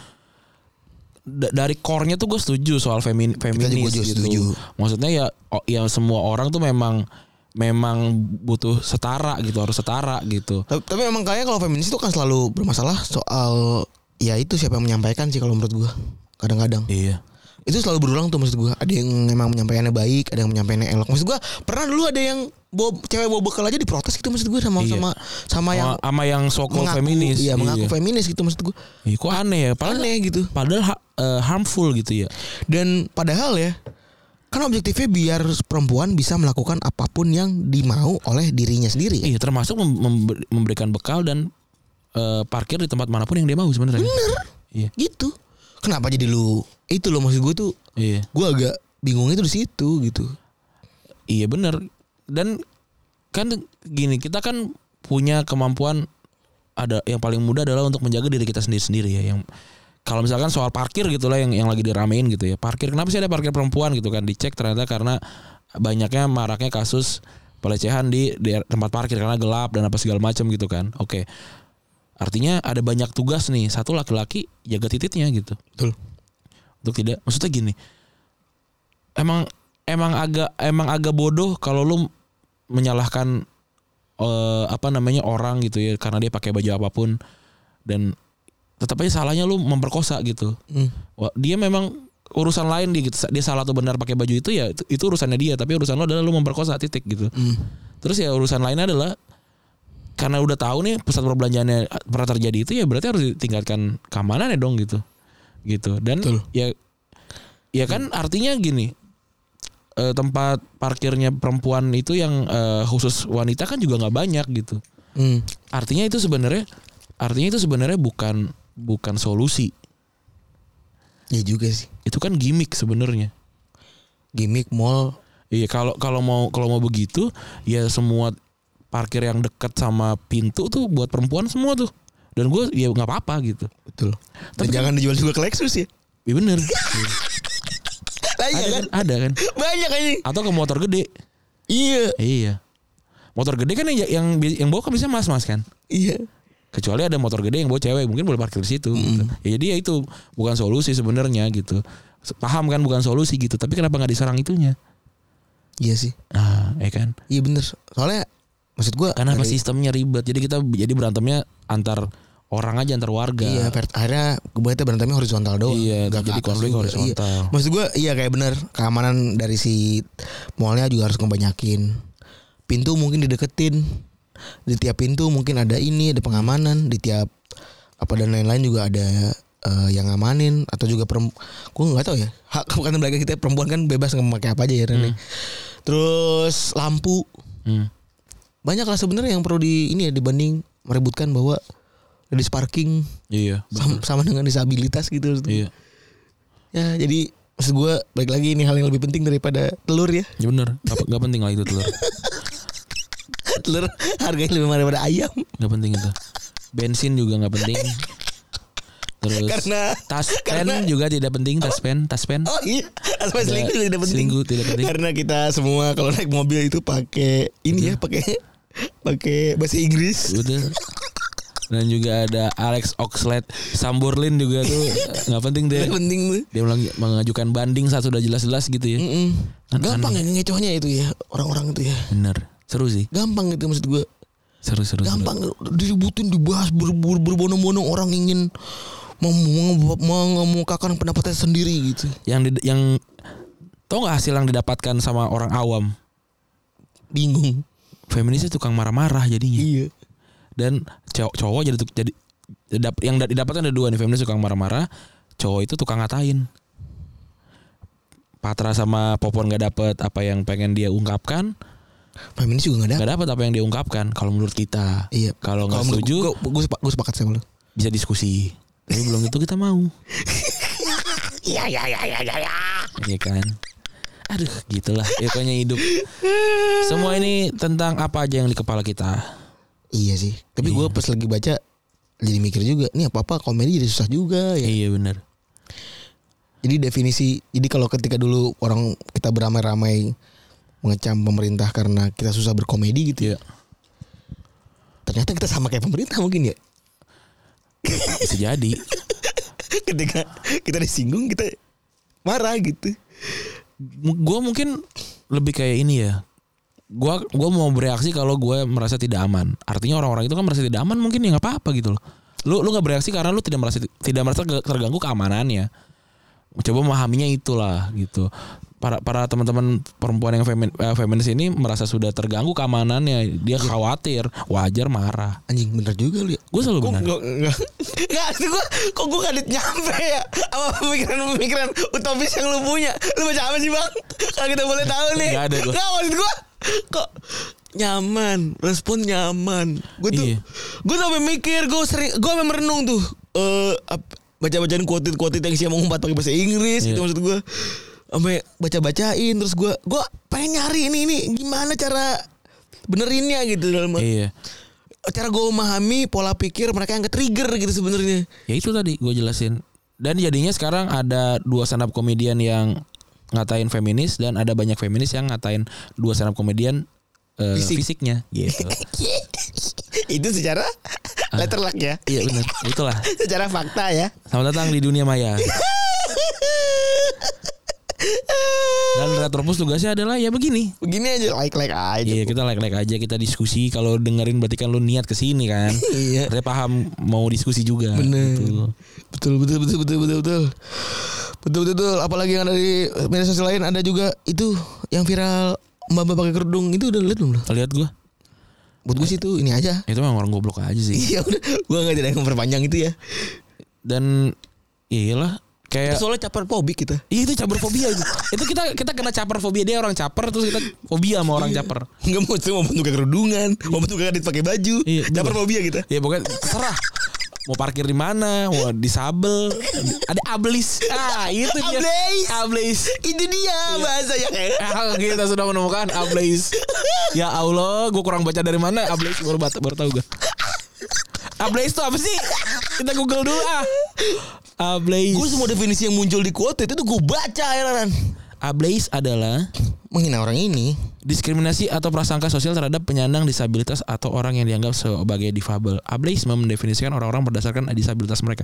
[SPEAKER 3] da- dari core-nya tuh gue setuju soal femin feminis
[SPEAKER 2] juga
[SPEAKER 3] gitu.
[SPEAKER 2] setuju.
[SPEAKER 3] Maksudnya ya o- ya semua orang tuh memang memang butuh setara gitu, harus setara gitu.
[SPEAKER 2] Tapi, tapi memang kayaknya kalau feminis itu kan selalu bermasalah soal ya itu siapa yang menyampaikan sih kalau menurut gua. Kadang-kadang.
[SPEAKER 3] Iya.
[SPEAKER 2] itu selalu berulang tuh maksud gua ada yang memang menyampaikannya baik ada yang menyampaikannya elok maksud gua pernah dulu ada yang bawa, cewek bawa bekal aja diprotes gitu maksud gua sama
[SPEAKER 3] Iya.
[SPEAKER 2] sama sama yang
[SPEAKER 3] Sama sama yang sokol
[SPEAKER 2] mengaku-
[SPEAKER 3] feminis.
[SPEAKER 2] iya mengaku feminis gitu maksud gua
[SPEAKER 3] Ih, kok aneh ya? Padahal,
[SPEAKER 2] aneh gitu
[SPEAKER 3] padahal ha- eh, harmful gitu ya.
[SPEAKER 2] dan padahal ya kan objektifnya biar perempuan bisa melakukan apapun yang dimau oleh dirinya sendiri ya.
[SPEAKER 3] Iya, termasuk mem- member- memberikan bekal dan eh, parkir di tempat manapun yang dia mau sebenarnya. Iya.
[SPEAKER 2] gitu kenapa jadi lu itu loh maksud gua tuh
[SPEAKER 3] Iya.
[SPEAKER 2] gua agak bingungnya tuh di situ gitu
[SPEAKER 3] Iya bener Dan kan gini kita kan punya kemampuan ada yang paling mudah adalah untuk menjaga diri kita sendiri-sendiri ya yang kalau misalkan soal parkir gitulah yang yang lagi diramein gitu ya parkir kenapa sih ada parkir perempuan gitu kan dicek ternyata karena banyaknya maraknya kasus pelecehan di, di tempat parkir karena gelap dan apa segala macam gitu kan oke artinya ada banyak tugas nih satu laki-laki jaga titiknya gitu
[SPEAKER 2] betul
[SPEAKER 3] untuk tidak maksudnya gini emang emang agak emang agak bodoh kalau lu menyalahkan eh, apa namanya orang gitu ya karena dia pakai baju apapun dan tetap aja salahnya lu memperkosa gitu
[SPEAKER 2] Hmm.
[SPEAKER 3] Wah, dia memang urusan lain dia gitu. dia salah atau benar pakai baju itu ya itu, itu urusannya dia tapi urusan lo adalah lu memperkosa titik gitu
[SPEAKER 2] Hmm.
[SPEAKER 3] terus ya urusan lainnya adalah karena udah tahu nih pusat perbelanjaannya pernah terjadi itu ya berarti harus ditingkatkan keamanannya dong gitu gitu dan
[SPEAKER 2] Betul.
[SPEAKER 3] ya ya kan artinya gini eh, tempat parkirnya perempuan itu yang eh, khusus wanita kan juga nggak banyak gitu
[SPEAKER 2] Hmm.
[SPEAKER 3] artinya itu sebenarnya artinya itu sebenarnya bukan bukan solusi
[SPEAKER 2] ya juga sih
[SPEAKER 3] itu kan gimmick sebenarnya
[SPEAKER 2] gimmick mall
[SPEAKER 3] Iya kalau kalau mau kalau mau begitu ya semua parkir yang dekat sama pintu tuh buat perempuan semua tuh. Dan gue ya nggak apa-apa gitu.
[SPEAKER 2] Betul. Dan jangan dijual juga ke Lexus ya.
[SPEAKER 3] Iya bener.
[SPEAKER 2] Lah iya
[SPEAKER 3] ada,
[SPEAKER 2] kan?
[SPEAKER 3] kan? ada kan.
[SPEAKER 2] Banyak anjing.
[SPEAKER 3] Atau ke motor gede.
[SPEAKER 2] Iya.
[SPEAKER 3] Iya. Motor gede kan yang yang yang bawa kan biasanya mas-mas kan.
[SPEAKER 2] Iya.
[SPEAKER 3] Kecuali ada motor gede yang bawa cewek mungkin boleh parkir di situ. gitu. Ya, jadi ya itu bukan solusi sebenarnya gitu. Paham kan bukan solusi gitu. Tapi kenapa nggak diserang itunya?
[SPEAKER 2] Iya sih.
[SPEAKER 3] Ah, ya kan.
[SPEAKER 2] Iya bener. Soalnya maksud gua
[SPEAKER 3] Karena apa
[SPEAKER 2] ada-
[SPEAKER 3] sistemnya ribet. Jadi kita jadi berantemnya antar orang aja antar warga.
[SPEAKER 2] Iya, vert, akhirnya kebanyakan berantemnya horizontal doang.
[SPEAKER 3] Iya,
[SPEAKER 2] Nggak ke
[SPEAKER 3] jadi
[SPEAKER 2] atas
[SPEAKER 3] konflik
[SPEAKER 2] juga.
[SPEAKER 3] horizontal.
[SPEAKER 2] Iya. Maksud gua iya kayak bener keamanan dari si mallnya juga harus ngebanyakin. Pintu mungkin dideketin. Di tiap pintu mungkin ada ini, ada pengamanan, di tiap apa dan lain-lain juga ada eh, yang ngamanin atau juga perempuan gua nggak tahu ya. Hak bukan mereka kita perempuan kan bebas memakai apa aja ya Ren. Terus lampu
[SPEAKER 3] Hmm.
[SPEAKER 2] banyak lah sebenarnya yang perlu di ini ya dibanding meributkan bahwa ladies parking
[SPEAKER 3] Iya.
[SPEAKER 2] sama, sama dengan disabilitas gitu.
[SPEAKER 3] Iya.
[SPEAKER 2] Ya jadi maksud gue balik lagi ini hal yang lebih penting daripada telur ya.
[SPEAKER 3] Ya bener. Gak, gak penting lah itu telur.
[SPEAKER 2] telur harganya lebih mahal daripada ayam.
[SPEAKER 3] Gak penting itu. Bensin juga gak penting. Terus
[SPEAKER 2] Karena-
[SPEAKER 3] tas pen
[SPEAKER 2] karena-
[SPEAKER 3] juga tidak penting, tas pen, tas pen.
[SPEAKER 2] Oh iya, aspek selingkuh juga tidak penting.
[SPEAKER 3] selingkuh tidak penting.
[SPEAKER 2] Karena kita semua kalau naik mobil itu pakai
[SPEAKER 3] Iya.
[SPEAKER 2] ini ya, pakai pakai bahasa Inggris.
[SPEAKER 3] Betul. Dan juga ada Alex Oxlade, Samborlin juga tuh nggak penting deh.
[SPEAKER 2] Tidak penting tuh.
[SPEAKER 3] Dia ulang- mengajukan banding saat sudah jelas-jelas gitu ya.
[SPEAKER 2] Mm-mm. Gampang ya ngecohnya itu ya orang-orang itu ya.
[SPEAKER 3] Bener. Seru sih.
[SPEAKER 2] Gampang gitu maksud gue.
[SPEAKER 3] Seru-seru.
[SPEAKER 2] Gampang diributin dibahas ber, ber, berbonong-bonong orang ingin mem- mem- mengemukakan pendapatnya sendiri gitu.
[SPEAKER 3] Yang did- yang tau nggak hasil yang didapatkan sama orang awam?
[SPEAKER 2] Bingung.
[SPEAKER 3] Feminisnya tukang marah-marah jadinya.
[SPEAKER 2] Iya.
[SPEAKER 3] Dan cowok cowok jadi tuk- jadi dap- yang da- didapatkan ada dua nih feminis tukang marah-marah, cowok itu tukang ngatain. Patra sama Popon nggak dapet apa yang pengen dia ungkapkan,
[SPEAKER 2] Feminis juga gak ada.
[SPEAKER 3] nggak dapet apa yang dia ungkapkan. Kalau menurut kita,
[SPEAKER 2] Ya. Iya.
[SPEAKER 3] kalau nggak
[SPEAKER 2] menurut
[SPEAKER 3] setuju
[SPEAKER 2] gua- gua sepa- gua sepakat sama lu.
[SPEAKER 3] bisa diskusi. Tapi belum itu kita mau,
[SPEAKER 2] Iya, iya, iya, iya, iya. Ya.
[SPEAKER 3] ya kan? Aduh, gitulah. Ya, Pokoknya hidup. Semua ini tentang apa aja yang di kepala kita.
[SPEAKER 2] Iya sih. Tapi gue pas lagi baca jadi mikir juga, nih apa apa komedi jadi susah juga ya.
[SPEAKER 3] Iya benar.
[SPEAKER 2] Jadi definisi, jadi kalau ketika dulu orang kita beramai-ramai mengecam pemerintah karena kita susah berkomedi
[SPEAKER 3] Iya.
[SPEAKER 2] gitu ya. Ternyata kita sama kayak pemerintah mungkin ya.
[SPEAKER 3] Bisa jadi.
[SPEAKER 2] Ketika kita disinggung kita marah gitu.
[SPEAKER 3] gue mungkin lebih kayak ini ya. Gua gua mau bereaksi kalau gue merasa tidak aman. Artinya orang-orang itu kan merasa tidak aman mungkin ya nggak apa-apa gitu loh. Lu lu nggak bereaksi karena lu tidak merasa tidak merasa ke- terganggu keamanannya. Coba memahaminya itulah gitu. Para para teman-teman perempuan yang femin, eh, feminis ini merasa sudah terganggu keamanannya. Dia khawatir, wajar marah.
[SPEAKER 2] Anjing bener juga lu ya.
[SPEAKER 3] Gue selalu
[SPEAKER 2] Kok
[SPEAKER 3] benar.
[SPEAKER 2] enggak enggak enggak sih gua kok gua kadit nyampe ya sama pemikiran-pemikiran utopis yang lu punya. Lu baca apa sih, Bang? Kalau kita boleh tahu nih.
[SPEAKER 3] Nggak ada gua.
[SPEAKER 2] Enggak maksud gua kok nyaman, respon nyaman. Gua tuh
[SPEAKER 3] Iya.
[SPEAKER 2] gua sampai mikir, gua sering gua sampai merenung tuh. Eh ap- baca-bacaan quote-quote yang siapa ngumpat pakai bahasa Inggris
[SPEAKER 3] Iya.
[SPEAKER 2] gitu maksud gua. Sampai baca-bacain terus gua gua pengen nyari ini ini gimana cara benerinnya gitu dalam
[SPEAKER 3] Iya.
[SPEAKER 2] cara gue memahami pola pikir mereka yang ke-trigger gitu sebenarnya.
[SPEAKER 3] Ya itu tadi gue jelasin. Dan jadinya sekarang ada dua stand up komedian yang ngatain feminis dan ada banyak feminis yang ngatain dua stand up komedian eh,
[SPEAKER 2] Fisik.
[SPEAKER 3] fisiknya gitu.
[SPEAKER 2] Itu secara letter luck ya.
[SPEAKER 3] Iya benar. Itulah.
[SPEAKER 2] Secara fakta ya.
[SPEAKER 3] Selamat datang di dunia maya. Dan Retropus tugasnya adalah ya begini.
[SPEAKER 2] Begini aja like-like aja.
[SPEAKER 3] Iya, kita like-like aja kita diskusi kalau dengerin berarti kan lu niat ke sini kan.
[SPEAKER 2] Iya.
[SPEAKER 3] Artinya paham mau diskusi juga
[SPEAKER 2] Bener.
[SPEAKER 3] gitu.
[SPEAKER 2] Betul betul betul betul betul betul. Betul betul betul. Apalagi yang ada di media sosial lain ada juga itu yang viral Mbak-mbak pakai kerudung itu udah liat belum lo?
[SPEAKER 3] Lihat gua,
[SPEAKER 2] Buat gue sih itu ini aja.
[SPEAKER 3] itu memang orang goblok aja sih.
[SPEAKER 2] Iya udah, gue gak jadi memperpanjang itu ya.
[SPEAKER 3] dan ya iyalah kayak
[SPEAKER 2] Soalnya caper pobik kita.
[SPEAKER 3] Iya, itu caper fobia itu. itu kita kita kena caper fobia dia orang caper terus kita fobia sama orang caper.
[SPEAKER 2] Enggak mau tuh mau bentuk kerudungan, mau bentuk kadit pakai baju,
[SPEAKER 3] Iya,
[SPEAKER 2] caper
[SPEAKER 3] bener.
[SPEAKER 2] fobia kita.
[SPEAKER 3] Ya pokoknya terserah mau parkir di mana, mau disabel, ada ablis. Ah, itu dia.
[SPEAKER 2] Ablaze.
[SPEAKER 3] Ablis.
[SPEAKER 2] Itu dia bahasa yang
[SPEAKER 3] Ah, kita sudah menemukan ablis. Ya Allah, gue kurang baca dari mana ablis baru bat- baru tahu gue. Ablis itu apa sih? Kita Google dulu ah. Ablis.
[SPEAKER 2] Gue semua definisi yang muncul di quote itu tuh gue baca heran.
[SPEAKER 3] Ablis adalah
[SPEAKER 2] Menghina orang ini.
[SPEAKER 3] Diskriminasi atau prasangka sosial terhadap penyandang disabilitas atau orang yang dianggap sebagai difabel. Ableisme mendefinisikan orang-orang berdasarkan disabilitas mereka.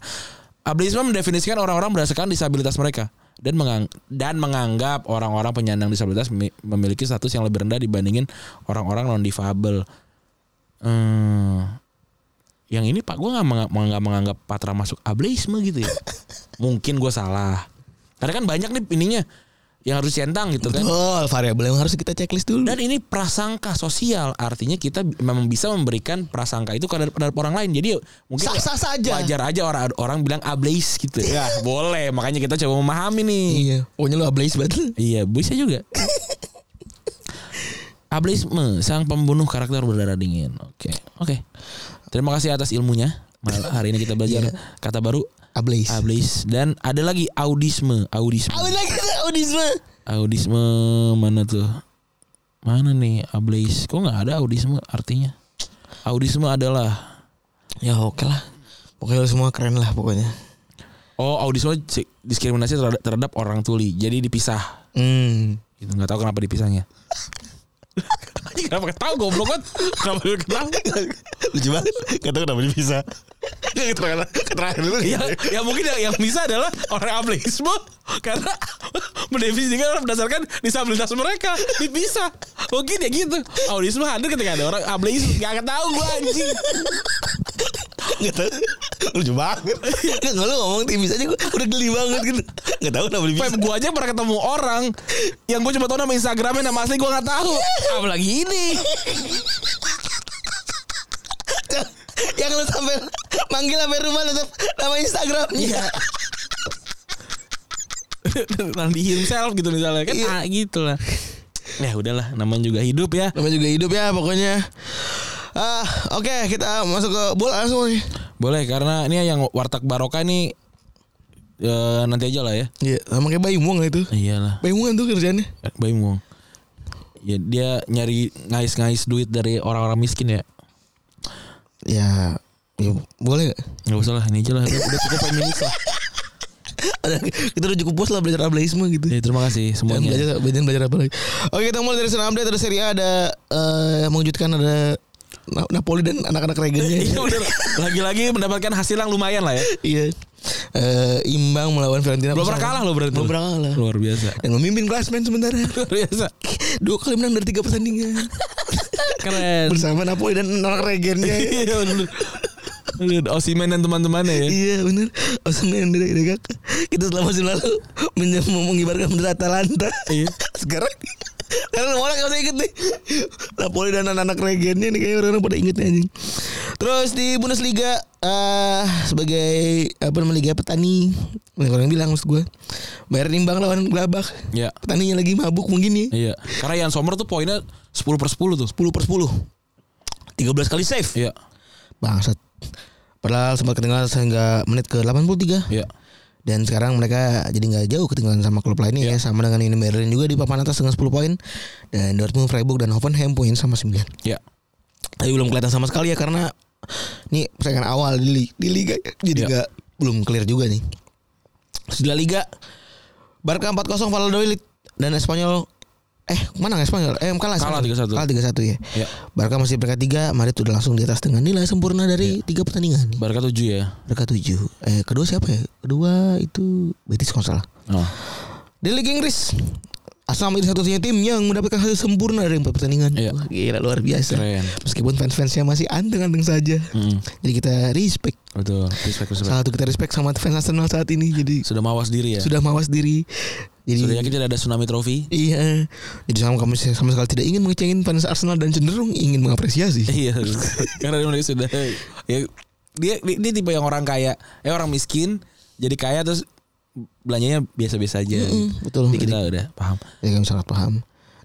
[SPEAKER 3] Ableisme mendefinisikan orang-orang berdasarkan disabilitas mereka dan mengang- dan menganggap orang-orang penyandang disabilitas mi- memiliki status yang lebih rendah dibandingin orang-orang non difabel. Hmm. Yang ini Pak gua nggak menga- menganggap, menganggap Patra masuk ableisme gitu ya. Mungkin gue salah. Karena kan banyak nih ininya yang harus centang gitu kan.
[SPEAKER 2] Betul, variabel yang harus kita checklist dulu.
[SPEAKER 3] Dan ini prasangka sosial, artinya kita b- memang bisa memberikan prasangka itu kepada, kepada orang lain. Jadi mungkin
[SPEAKER 2] Sah- sah saja.
[SPEAKER 3] wajar aja orang orang bilang ableis gitu. Ya boleh, makanya kita coba memahami nih.
[SPEAKER 2] iya. Pokoknya lu ablaze banget. lu.
[SPEAKER 3] Iya, bisa juga. Ableisme, sang pembunuh karakter berdarah dingin. Oke, oke. Terima kasih atas ilmunya. Mal- hari ini kita belajar kata baru
[SPEAKER 2] Ablaze.
[SPEAKER 3] ableis dan ada lagi audisme, audisme.
[SPEAKER 2] Apa lagi tuh audisme?
[SPEAKER 3] Audisme mana tuh? Mana nih ableis? Kok nggak ada audisme artinya? Audisme adalah
[SPEAKER 2] Ya oke lah. Pokoknya lu semua keren lah pokoknya.
[SPEAKER 3] Oh audisme si- diskriminasi terhadap, terhadap orang tuli. Jadi dipisah.
[SPEAKER 2] Hmm.
[SPEAKER 3] Gitu. Gak tahu kenapa dipisahnya. kenapa ketawa goblok kan? Kenapa lu ketawa?
[SPEAKER 2] Lucu banget. Gak tau kenapa bisa. Keterangan keterangan dulu.
[SPEAKER 3] ya, ya mungkin yang, yang bisa adalah orang ableisme karena mendefinisikan berdasarkan disabilitas mereka dipisah mungkin ya gitu audisme hadir ketika ada orang ableisme gak tahu gue anjing
[SPEAKER 2] Gak tau. Lucu banget. Gak kalau ngomong tipis aja gue udah geli banget gitu. Gak tau kenapa bisa.
[SPEAKER 3] Pep gue aja pernah ketemu orang yang gue cuma tahu nama instagramnya nama asli gue gak tahu apalagi ini
[SPEAKER 2] Yang lu sampai manggil sampai rumah tetap nama Instagramnya.
[SPEAKER 3] Iya. nanti himself gitu misalnya kan
[SPEAKER 2] Iya.
[SPEAKER 3] ah, gitu lah ya udahlah namanya juga hidup ya
[SPEAKER 2] Namanya juga hidup ya pokoknya. Ah, oke kita masuk ke bola langsung nih.
[SPEAKER 3] boleh karena ini yang warteg barokah nih eh, nanti aja lah ya
[SPEAKER 2] Iya, sama kayak Bayu Muang lah itu.
[SPEAKER 3] iyalah
[SPEAKER 2] Bayu Muang kan tuh kerjaannya.
[SPEAKER 3] Bayi Muang. Ya dia nyari ngais-ngais duit dari orang-orang miskin ya.
[SPEAKER 2] Ya, ya boleh gak?
[SPEAKER 3] Gak usah lah ini aja lah. Udah udah cukup feminis lah.
[SPEAKER 2] kita udah cukup puas lah belajar ableisme gitu.
[SPEAKER 3] Ya, terima kasih
[SPEAKER 2] Dan
[SPEAKER 3] semuanya.
[SPEAKER 2] belajar, belajar, belajar apa lagi? Oke kita mulai dari sana update dari Serie A ada eh, mengejutkan ada Na- Napoli dan anak-anak
[SPEAKER 3] Iya
[SPEAKER 2] regennya.
[SPEAKER 3] bener. Lagi-lagi mendapatkan hasil yang lumayan lah ya.
[SPEAKER 2] iya. Eh, imbang melawan Fiorentina.
[SPEAKER 3] Belum pernah kalah loh berarti.
[SPEAKER 2] Belum pernah kalah.
[SPEAKER 3] Luar biasa.
[SPEAKER 2] Dan memimpin klasmen sementara.
[SPEAKER 3] Luar biasa.
[SPEAKER 2] Dua kali menang dari tiga pertandingan.
[SPEAKER 3] Keren.
[SPEAKER 2] Bersama Napoli dan anak regennya. ya.
[SPEAKER 3] Iya bener. Bener, Osimen dan teman-temannya ya.
[SPEAKER 2] Iya benar. Osman dari Degak. Kita selama musim lalu menye- mengibarkan bendera Atalanta.
[SPEAKER 3] Iya.
[SPEAKER 2] Sekarang karena orang gak usah inget nih Napoli dan anak-anak regennya nih Kayaknya orang-orang pada inget nih anjing Terus di Bundesliga eh Sebagai apa namanya Liga Petani Banyak orang bilang maksud gue Bayar imbang lawan Gelabak
[SPEAKER 3] Iya.
[SPEAKER 2] Petaninya lagi mabuk mungkin ya. nih
[SPEAKER 3] Iya. Karena Ian Sommer tuh poinnya 10 per 10
[SPEAKER 2] 10
[SPEAKER 3] tuh.
[SPEAKER 2] per 10 13 kali save
[SPEAKER 3] Iya.
[SPEAKER 2] Bangsat Padahal sempat ketinggalan sehingga menit ke 83
[SPEAKER 3] Iya.
[SPEAKER 2] Dan sekarang mereka jadi nggak jauh ketinggalan sama klub lainnya ya
[SPEAKER 3] Iya.
[SPEAKER 2] sama dengan Union Berlin juga di papan atas dengan 10 poin dan Dortmund, Freiburg dan Hoffenheim poin sama 9.
[SPEAKER 3] Iya.
[SPEAKER 2] Tapi belum kelihatan sama sekali ya karena ini persaingan awal di, li- di liga jadi
[SPEAKER 3] Ya.
[SPEAKER 2] nggak belum clear juga nih. Terus di La Liga Barca 4-0 Valladolid dan Espanyol eh mana nggak Espanyol? Eh kalah
[SPEAKER 3] Kalah 3-1.
[SPEAKER 2] Kalah 3-1 ya.
[SPEAKER 3] Iya.
[SPEAKER 2] Barca masih peringkat 3, Madrid udah langsung di atas dengan nilai sempurna
[SPEAKER 3] Iya.
[SPEAKER 2] dari tiga pertandingan.
[SPEAKER 3] Barca 7 ya.
[SPEAKER 2] Mereka tujuh. Eh kedua siapa ya? Kedua itu Betis kalau nggak salah.
[SPEAKER 3] Oh.
[SPEAKER 2] Di Liga Inggris Arsenal menjadi satu-satunya tim yang mendapatkan hasil sempurna dari empat pertandingan.
[SPEAKER 3] Iya.
[SPEAKER 2] Wah, gila luar biasa.
[SPEAKER 3] Keren.
[SPEAKER 2] Meskipun fans-fansnya masih anteng-anteng saja.
[SPEAKER 3] Mm-mm.
[SPEAKER 2] Jadi kita respect.
[SPEAKER 3] Betul. Respect, respect.
[SPEAKER 2] Salah satu kita respect sama fans Arsenal saat ini. Jadi
[SPEAKER 3] Sudah mawas diri ya.
[SPEAKER 2] sudah mawas diri. Jadi
[SPEAKER 3] Sudah yakin tidak ada tsunami trofi?
[SPEAKER 2] iya. Jadi sama kamu sama sekali tidak ingin mengecengin fans Arsenal dan cenderung ingin mengapresiasi.
[SPEAKER 3] Iya, karena mereka sudah ya dia, dia dia tipe yang orang kaya, eh orang miskin jadi kaya terus belanjanya biasa-biasa aja.
[SPEAKER 2] Mm-mm, betul.
[SPEAKER 3] Iya. Jadi kita udah paham.
[SPEAKER 2] Ya kami sangat paham.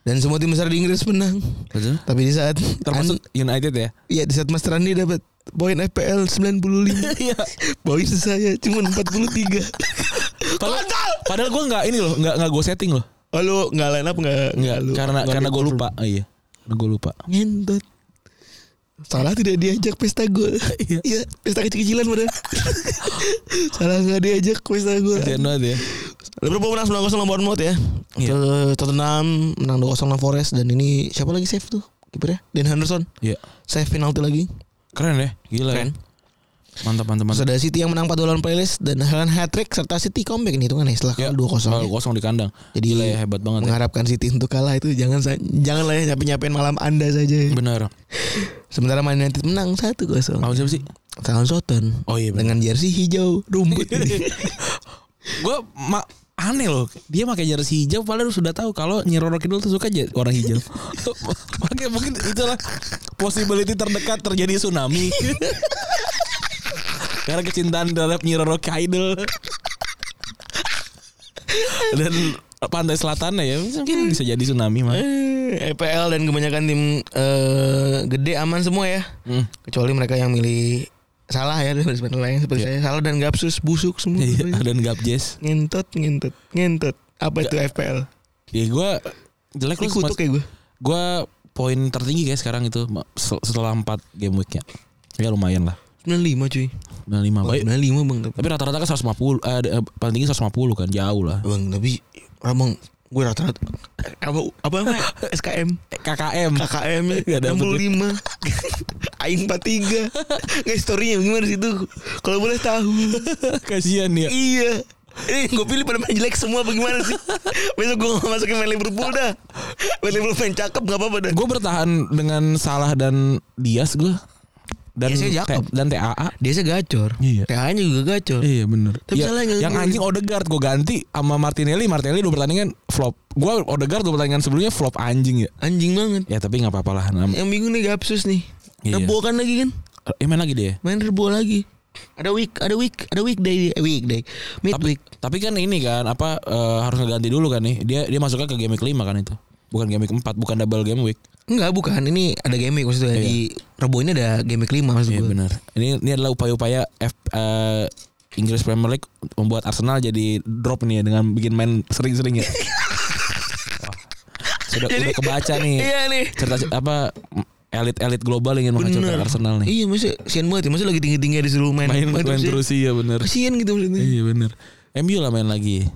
[SPEAKER 2] Dan semua tim besar di Inggris menang.
[SPEAKER 3] Betul.
[SPEAKER 2] Tapi di saat
[SPEAKER 3] Termasuk United ya.
[SPEAKER 2] Iya di saat Mas Randi dapat poin FPL 95
[SPEAKER 3] Iya.
[SPEAKER 2] Poin saya cuma 43
[SPEAKER 3] Padahal, padahal gue nggak ini loh, nggak nggak gue setting loh.
[SPEAKER 2] Oh lu gak line up gak?
[SPEAKER 3] Iya, Nggak, karena karena gue lupa. Oh, iya, karena gue lupa.
[SPEAKER 2] Ngentot Salah tidak diajak pesta gol
[SPEAKER 3] Iya.
[SPEAKER 2] Iya pesta kecil-kecilan padahal Salah gak diajak pesta gol
[SPEAKER 3] Kasian banget ya.
[SPEAKER 2] Liverpool menang 9-0 lawan Bournemouth ya
[SPEAKER 3] Iya.
[SPEAKER 2] Terus Tottenham menang 2-0 lawan Forest Dan ini siapa lagi save tuh? Kipernya Dan Henderson
[SPEAKER 3] Iya.
[SPEAKER 2] Save penalti lagi
[SPEAKER 3] Keren ya, gila.
[SPEAKER 2] Keren.
[SPEAKER 3] Keren. Mantap, mantap,
[SPEAKER 2] Terus
[SPEAKER 3] mantap.
[SPEAKER 2] ada City yang menang 4 lawan Palace Dan Helen hat-trick Serta City comeback nih hitungannya Setelah kalah 2-0 ya.
[SPEAKER 3] Kalau Oh, kosong di kandang.
[SPEAKER 2] Jadi
[SPEAKER 3] gila ya hebat banget. Ya.
[SPEAKER 2] mengharapkan City untuk kalah itu jangan sa- jangan lah ya nyapain nyapain malam anda saja.
[SPEAKER 3] Bener.
[SPEAKER 2] Sementara Man United menang 1-0
[SPEAKER 3] Lawan siapa sih?
[SPEAKER 2] Tahun Soton
[SPEAKER 3] Oh iya. bener.
[SPEAKER 2] dengan jersey hijau rumput.
[SPEAKER 3] gue ma- aneh loh dia pakai jersey hijau padahal sudah tahu kalau Nyiroro Kidul tuh suka je- warna hijau Oke mungkin itulah possibility terdekat terjadi tsunami karena kecintaan terhadap Nyiroro Kidul dan pantai selatannya ya mungkin bisa jadi tsunami mah
[SPEAKER 2] Eh, EPL dan kebanyakan tim eh, gede aman semua ya.
[SPEAKER 3] Hmm.
[SPEAKER 2] Kecuali mereka yang milih salah ya dari sebenarnya lain seperti saya salah dan gapsus busuk semua.
[SPEAKER 3] Iya, dan Gabjes
[SPEAKER 2] ngentot ngentot ngentot. Apa itu FPL?
[SPEAKER 3] ya gue jelek lu
[SPEAKER 2] Dikutuk ya gue.
[SPEAKER 3] gue poin tertinggi guys sekarang itu ma- se- setelah 4 game weeknya ya lumayan lah
[SPEAKER 2] 95 cuy.
[SPEAKER 3] 95 baik.
[SPEAKER 2] 95 bang. Tapi,
[SPEAKER 3] Tapi rata-rata kan 150 eh, ada- paling tinggi 150 kan jauh lah.
[SPEAKER 2] bang tapi abang gue rata-rata apa apa namanya? SKM
[SPEAKER 3] KKM.
[SPEAKER 2] KKM
[SPEAKER 3] Nggak dapet.
[SPEAKER 2] 65 Aing 43 Nggak storynya gimana sih itu Kalau boleh tahu
[SPEAKER 3] Kasihan dia.
[SPEAKER 2] Iya. Eh, gue pilih pada main jelek semua bagaimana sih? Besok gue gak masukin main Liverpool dah. Main Liverpool main cakep gak apa-apa dah.
[SPEAKER 3] Gue bertahan dengan salah dan Dias gue. Dan
[SPEAKER 2] Diasnya Jakob.
[SPEAKER 3] T- dan TAA.
[SPEAKER 2] Dia sih gacor.
[SPEAKER 3] Iya.
[SPEAKER 2] TA-nya juga gacor.
[SPEAKER 3] Iya bener
[SPEAKER 2] Tapi
[SPEAKER 3] Ya,
[SPEAKER 2] salahnya
[SPEAKER 3] Yang
[SPEAKER 2] gue-
[SPEAKER 3] anjing Odegaard gue ganti Sama Martinelli Martinelli dua pertandingan flop Gue Odegaard dua pertandingan sebelumnya flop anjing ya
[SPEAKER 2] Anjing banget.
[SPEAKER 3] Ya tapi gak apa-apa lah Nam-
[SPEAKER 2] Yang bingung nih Gapsus nih.
[SPEAKER 3] Iya.
[SPEAKER 2] Rebo kan lagi kan?
[SPEAKER 3] Eh main lagi dia
[SPEAKER 2] Main Rebo lagi. Ada week, ada week, ada weekday, eh, weekday,
[SPEAKER 3] tapi,
[SPEAKER 2] midweek.
[SPEAKER 3] tapi kan ini kan Apa eh, Harus ngeganti dulu kan nih Dia dia masuknya ke game week 5 kan itu Bukan game week 4 Bukan double game week
[SPEAKER 2] Enggak bukan, ini ada game week maksudnya di Rebo ini ada game week 5 maksud
[SPEAKER 3] Iya
[SPEAKER 2] gue.
[SPEAKER 3] benar. Ini ini adalah upaya-upaya F, eh, Inggris Premier League membuat Arsenal jadi drop nih ya dengan bikin main sering-sering ya. Wah, sudah
[SPEAKER 2] Jadi-
[SPEAKER 3] udah kebaca nih.
[SPEAKER 2] Iya nih.
[SPEAKER 3] Cerita apa elit-elit global ingin menghancurkan
[SPEAKER 2] Bener.
[SPEAKER 3] Arsenal nih.
[SPEAKER 2] Iya maksudnya sian banget ya, maksudnya lagi tinggi-tingginya disuruh main.
[SPEAKER 3] Main main terus iya benar.
[SPEAKER 2] Kasian gitu maksudnya.
[SPEAKER 3] Iya benar. MU lah main lagi.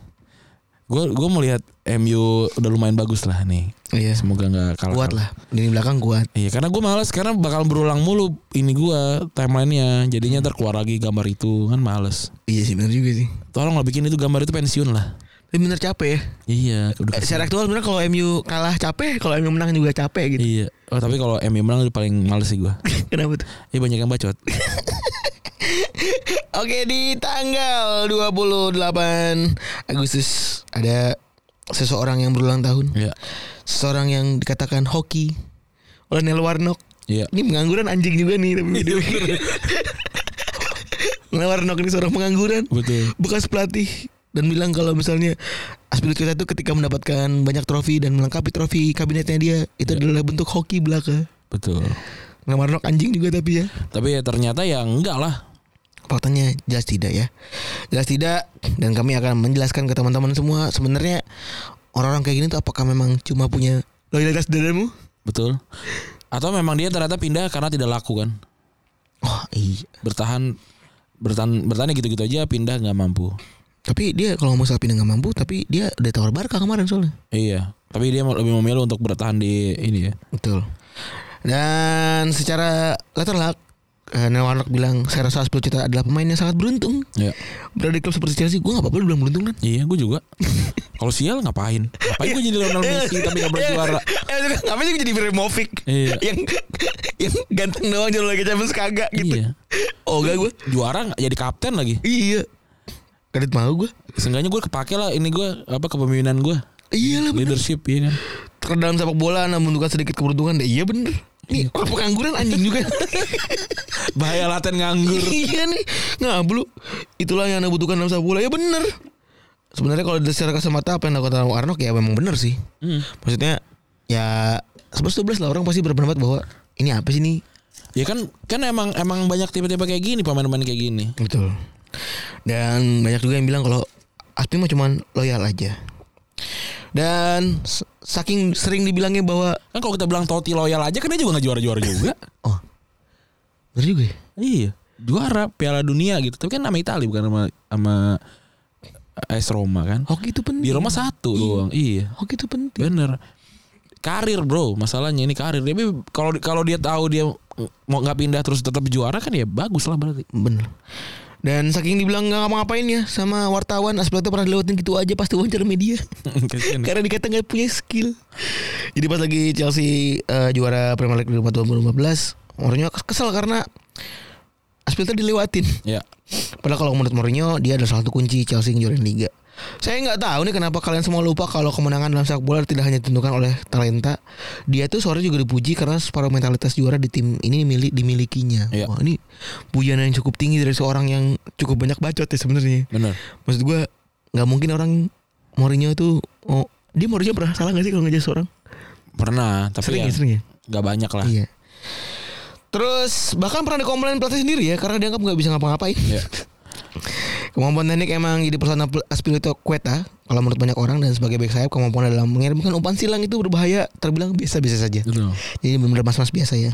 [SPEAKER 3] Gue gue melihat MU udah lumayan bagus lah nih.
[SPEAKER 2] Iya.
[SPEAKER 3] Semoga nggak kalah.
[SPEAKER 2] kuat lah lini belakang kuat
[SPEAKER 3] Iya karena gue malas karena bakal berulang mulu ini gue timelinenya jadinya ntar keluar lagi gambar itu kan males.
[SPEAKER 2] iya sih benar juga sih
[SPEAKER 3] Tolonglah bikin itu gambar itu pensiun lah.
[SPEAKER 2] tapi bener capek ya
[SPEAKER 3] Iya, udah
[SPEAKER 2] Eh, secara aktual sebenarnya kalau MU kalah capek kalau MU menang juga capek gitu
[SPEAKER 3] Iya. Oh, tapi kalau MU menang itu paling males sih gua.
[SPEAKER 2] kenapa tuh
[SPEAKER 3] Iya banyak yang bacot.
[SPEAKER 2] oke di tanggal 28 Agustus ada seseorang yang berulang tahun
[SPEAKER 3] Iya.
[SPEAKER 2] seseorang yang dikatakan hoki oleh Nel Warnock
[SPEAKER 3] Iya.
[SPEAKER 2] ini pengangguran anjing juga nih tapi Nel Warnock ini seorang pengangguran
[SPEAKER 3] Betul.
[SPEAKER 2] bekas pelatih dan bilang kalau misalnya aspirasi kita itu ketika mendapatkan banyak trofi dan melengkapi trofi kabinetnya dia
[SPEAKER 3] Iya.
[SPEAKER 2] itu adalah bentuk hoki belaka.
[SPEAKER 3] Betul.
[SPEAKER 2] Ngamarnok anjing juga tapi ya.
[SPEAKER 3] Tapi ya ternyata ya enggak lah.
[SPEAKER 2] Faktanya jelas tidak ya. Jelas tidak dan kami akan menjelaskan ke teman-teman semua sebenarnya orang-orang kayak gini tuh apakah memang cuma punya loyalitas dadamu?
[SPEAKER 3] Betul. Atau memang dia ternyata pindah karena tidak laku kan.
[SPEAKER 2] Oh iya.
[SPEAKER 3] Bertahan bertahan bertahan ya gitu-gitu aja pindah nggak mampu.
[SPEAKER 2] Tapi dia kalau mau pindah nggak mampu tapi dia udah tawar Barca kemarin soalnya.
[SPEAKER 3] Iya. Tapi dia lebih memilih untuk bertahan di ini ya.
[SPEAKER 2] Betul. Dan secara letter luck, eh, Neil Warnock bilang saya rasa 10 juta adalah pemain yang sangat beruntung.
[SPEAKER 3] Iya.
[SPEAKER 2] Berada di klub seperti Chelsea, gue gak apa-apa lu bilang beruntung kan.
[SPEAKER 3] Iya, gue juga. Kalau sial ngapain? Ngapain gue jadi Lionel Messi tapi gak pernah juara?
[SPEAKER 2] Eh, Ngapain sih jadi Ibrahimovic?
[SPEAKER 3] Iya.
[SPEAKER 2] Yang yang ganteng doang jadi lagi Champions kagak gitu.
[SPEAKER 3] Iya.
[SPEAKER 2] Oh gak gue.
[SPEAKER 3] Juara nggak jadi kapten lagi.
[SPEAKER 2] Iya. Kadit mau gue.
[SPEAKER 3] Seenggaknya gue kepake lah ini gue apa kepemimpinan gue
[SPEAKER 2] Iya lah.
[SPEAKER 3] leadership ya kan.
[SPEAKER 2] Terkadang dalam sepak bola namun bukan sedikit keberuntungan. Iya bener. Nih orang pengangguran anjing juga.
[SPEAKER 3] Bahaya laten nganggur.
[SPEAKER 2] iya nih ngablu itulah yang anda butuhkan dalam sepak bola ya bener sebenarnya kalau dari secara kasamata apa yang dilakukan Arnok ya memang bener sih maksudnya ya 11-12 lah orang pasti berpendapat bahwa ini apa sih nih
[SPEAKER 3] Ya kan kan emang emang banyak tipe-tipe kayak gini pemain-pemain kayak gini.
[SPEAKER 2] betul dan banyak juga yang bilang kalau Aspi mah cuman loyal aja dan s- saking sering dibilangnya bahwa
[SPEAKER 3] Kan kalau kita bilang Totti loyal aja kan dia juga nggak juara-juara juga.
[SPEAKER 2] oh bener juga ya
[SPEAKER 3] iya, juara Piala Dunia gitu. Tapi kan nama Itali bukan sama sama AS Roma kan.
[SPEAKER 2] hoki itu
[SPEAKER 3] Di
[SPEAKER 2] penting
[SPEAKER 3] Roma satu doang. Iya.
[SPEAKER 2] hoki itu Oh, gitu penting
[SPEAKER 3] Bener. Karir bro, masalahnya ini karir. Tapi kalau kalau dia tahu dia mau nggak pindah terus tetap juara kan ya bagus lah berarti.
[SPEAKER 2] Bener. Dan saking dibilang nggak ngapa-ngapain ya sama wartawan Aspilata pernah dilewatin gitu aja pasti wawancara media.
[SPEAKER 3] Kasian.
[SPEAKER 2] Karena dikata nggak punya skill. Jadi pas lagi Chelsea eh, juara Premier League 2015, Mourinho kesel karena Aspilata dilewatin.
[SPEAKER 3] Ya.
[SPEAKER 2] Padahal kalau menurut Mourinho dia adalah salah satu kunci Chelsea yang juara liga. Saya nggak tahu nih kenapa kalian semua lupa kalau kemenangan dalam sepak bola tidak hanya ditentukan oleh talenta. Dia tuh sore juga dipuji karena separuh mentalitas juara di tim ini milik dimilikinya.
[SPEAKER 3] Iya.
[SPEAKER 2] Wah, ini pujian yang cukup tinggi dari seorang yang cukup banyak bacot ya sebenarnya.
[SPEAKER 3] Bener.
[SPEAKER 2] Maksud gua nggak mungkin orang Mourinho tuh oh dia Mourinho pernah salah nggak sih kalau ngejar seorang?
[SPEAKER 3] Pernah, tapi
[SPEAKER 2] Sering
[SPEAKER 3] ya
[SPEAKER 2] ya, sering ya.
[SPEAKER 3] nggak banyak lah.
[SPEAKER 2] Iya. Terus bahkan pernah dikomplain pelatih sendiri ya karena dianggap nggak bisa ngapa-ngapain.
[SPEAKER 3] Iya.
[SPEAKER 2] Kemampuan teknik emang jadi persona pl- Aspilito Queta kalau menurut banyak orang dan sebagai back sayap kemampuan dalam mengirimkan umpan silang itu berbahaya terbilang biasa-biasa saja.
[SPEAKER 3] Betul.
[SPEAKER 2] Jadi benar-benar mas-mas biasa ya.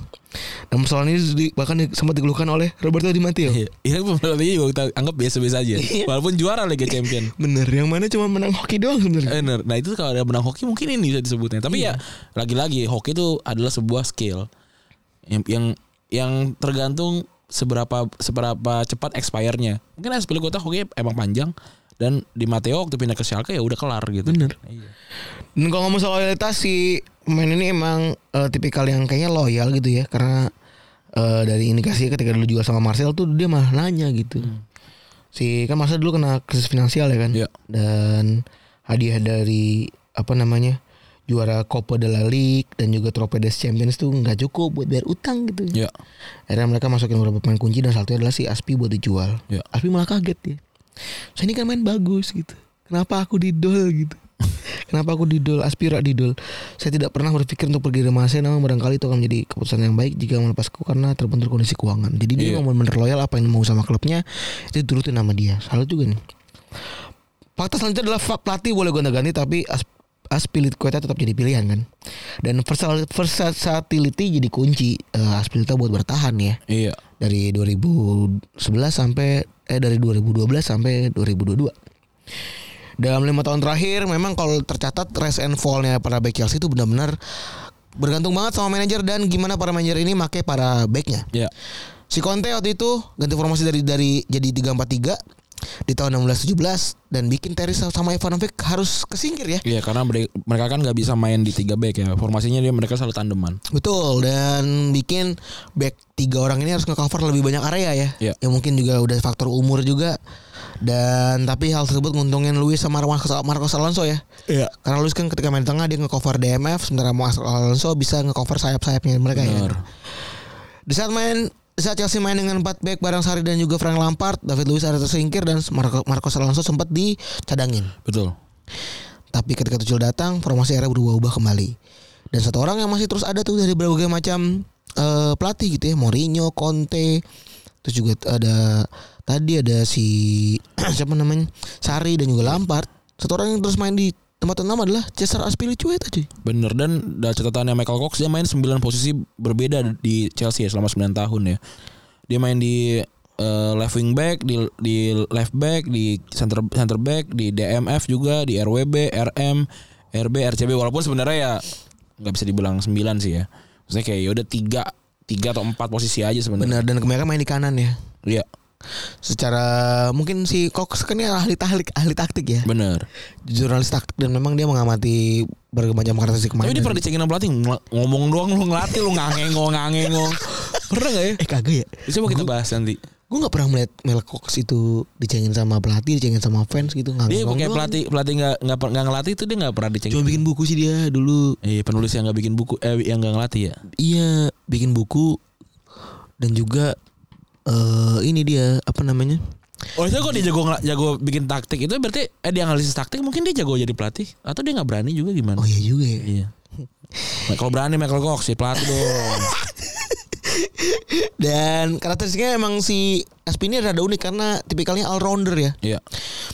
[SPEAKER 2] Dan persoalan ini di- bahkan di- sempat digeluhkan oleh Roberto Di Matteo.
[SPEAKER 3] Iya, ya, pemerhatiannya juga kita anggap biasa-biasa aja.
[SPEAKER 2] Iya.
[SPEAKER 3] Walaupun juara Liga Champion.
[SPEAKER 2] Bener, yang mana cuma menang hoki doang sebenarnya.
[SPEAKER 3] Eh, Bener. Nah itu kalau ada benang hoki mungkin ini bisa disebutnya. Tapi ya lagi-lagi hoki itu adalah sebuah skill yang yang, yang tergantung seberapa seberapa cepat expire-nya. Mungkin Aspilicueta hoki emang panjang dan di Mateo waktu pindah ke Schalke ya udah kelar gitu.
[SPEAKER 2] Bener.
[SPEAKER 3] Iya.
[SPEAKER 2] Dan kalau ngomong soal loyalitas si pemain ini emang eh, tipikal yang kayaknya loyal gitu ya karena eh, dari indikasi ketika dulu jual sama Marcel tuh dia malah nanya gitu. Si kan Marcel dulu kena krisis finansial ya kan.
[SPEAKER 3] Iya.
[SPEAKER 2] Dan hadiah dari apa namanya? juara Copa de la Ligue dan juga Trophée des Champions tuh nggak cukup buat bayar utang gitu.
[SPEAKER 3] Ya.
[SPEAKER 2] Akhirnya mereka masukin beberapa pemain kunci dan satunya adalah si Aspi buat dijual.
[SPEAKER 3] Ya.
[SPEAKER 2] Aspi malah kaget ya. Saya ini kan main bagus gitu. Kenapa aku didol gitu? Kenapa aku didol? Aspi rak didol. Saya tidak pernah berpikir untuk pergi dari Marseille namun barangkali itu akan menjadi keputusan yang baik jika melepasku karena terbentur kondisi keuangan. Jadi dia
[SPEAKER 3] Iya.
[SPEAKER 2] mau bener loyal apa yang mau sama klubnya itu turutin nama dia. Salah juga nih. Fakta selanjutnya adalah fak pelatih boleh gonta-ganti tapi as Aspilit Kueta tetap jadi pilihan kan. Dan versal- versatility jadi kunci eh, Aspilita buat bertahan ya
[SPEAKER 3] Iya.
[SPEAKER 2] dari 2011 sampai eh dari 2012 sampai 2022. Dalam lima tahun terakhir memang kalau tercatat rise and fall-nya para back Chelsea itu benar-benar bergantung banget sama manajer dan gimana para manajer ini make para backnya.
[SPEAKER 3] Ya.
[SPEAKER 2] Si Conte waktu itu ganti formasi dari dari jadi 343 di tahun 16-17 dan bikin Terry sama Ivanovic harus kesingkir ya.
[SPEAKER 3] Iya karena mere- mereka kan nggak bisa main di tiga back ya. Formasinya dia mereka selalu tandeman.
[SPEAKER 2] Betul dan bikin back tiga orang ini harus ngecover lebih banyak area ya.
[SPEAKER 3] Iya.
[SPEAKER 2] Ya mungkin juga udah faktor umur juga dan tapi hal tersebut nguntungin Luis sama Marcos, Marcos Alonso ya.
[SPEAKER 3] Iya.
[SPEAKER 2] Karena Luis kan ketika main di tengah dia ngecover DMF sementara Marcos Alonso bisa ngecover sayap-sayapnya mereka ya.
[SPEAKER 3] Benar.
[SPEAKER 2] Di saat main di saat Chelsea main dengan 4 back bareng Sari dan juga Frank Lampard, David Luiz ada tersingkir dan Marco- Marcos Alonso sempat dicadangin.
[SPEAKER 3] Betul.
[SPEAKER 2] Tapi ketika Tuchel datang, formasi era berubah-ubah kembali. Dan satu orang yang masih terus ada tuh dari berbagai macam eh, pelatih gitu ya, Mourinho, Conte, terus juga ada tadi ada si siapa namanya? Sari dan juga Lampard. Satu orang yang terus main di tempat ternama adalah Cesar Azpilicueta cuy.
[SPEAKER 3] Bener dan dari catatannya Michael Cox dia main 9 posisi berbeda di Chelsea ya, selama 9 tahun ya. Dia main di eh, left wing back, di di left back, di center center back, di DMF juga, di RWB, RM, RB, RCB walaupun sebenarnya ya nggak bisa dibilang 9 sih ya. Maksudnya kayak ya udah 3 3 atau 4 posisi aja sebenarnya.
[SPEAKER 2] Benar dan mereka main di kanan ya.
[SPEAKER 3] Iya,
[SPEAKER 2] Secara mungkin si Cox kan ya ahli tahlik, ahli taktik ya.
[SPEAKER 3] bener.
[SPEAKER 2] Jurnalis taktik dan memang dia mengamati berbagai macam karakteristik
[SPEAKER 3] Tapi
[SPEAKER 2] pemain.
[SPEAKER 3] dia pernah
[SPEAKER 2] dan-
[SPEAKER 3] dicekin sama pelatih ngel- ngomong doang lu ngelatih lu ngangengong ngangengong. Pernah gak ya?
[SPEAKER 2] eh kagak ya?
[SPEAKER 3] Coba kita bahas nanti.
[SPEAKER 2] gue nggak pernah melihat Mel Cox itu dicengin sama pelatih, dicengin sama fans gitu. Nggak
[SPEAKER 3] Dia
[SPEAKER 2] ngomong
[SPEAKER 3] pakai
[SPEAKER 2] doang.
[SPEAKER 3] pelatih pelatih nggak nggak per- nggak ngelatih itu dia nggak pernah dicengin.
[SPEAKER 2] Cuma bikin buku sih dia dulu.
[SPEAKER 3] Iya penulis yang nggak bikin buku eh yang nggak ngelatih ya.
[SPEAKER 2] Iya, bikin buku dan juga eh ini dia apa namanya?
[SPEAKER 3] Oh itu kok dia jago ngela- jago bikin taktik itu berarti eh dia analisis taktik mungkin dia jago jadi pelatih atau dia nggak berani juga gimana?
[SPEAKER 2] Oh iya juga ya.
[SPEAKER 3] Iya. Nah, kalau berani Michael Cox ya pelatih dong.
[SPEAKER 2] Dan karakteristiknya emang si SP ini rada unik karena tipikalnya all rounder ya.
[SPEAKER 3] Iya.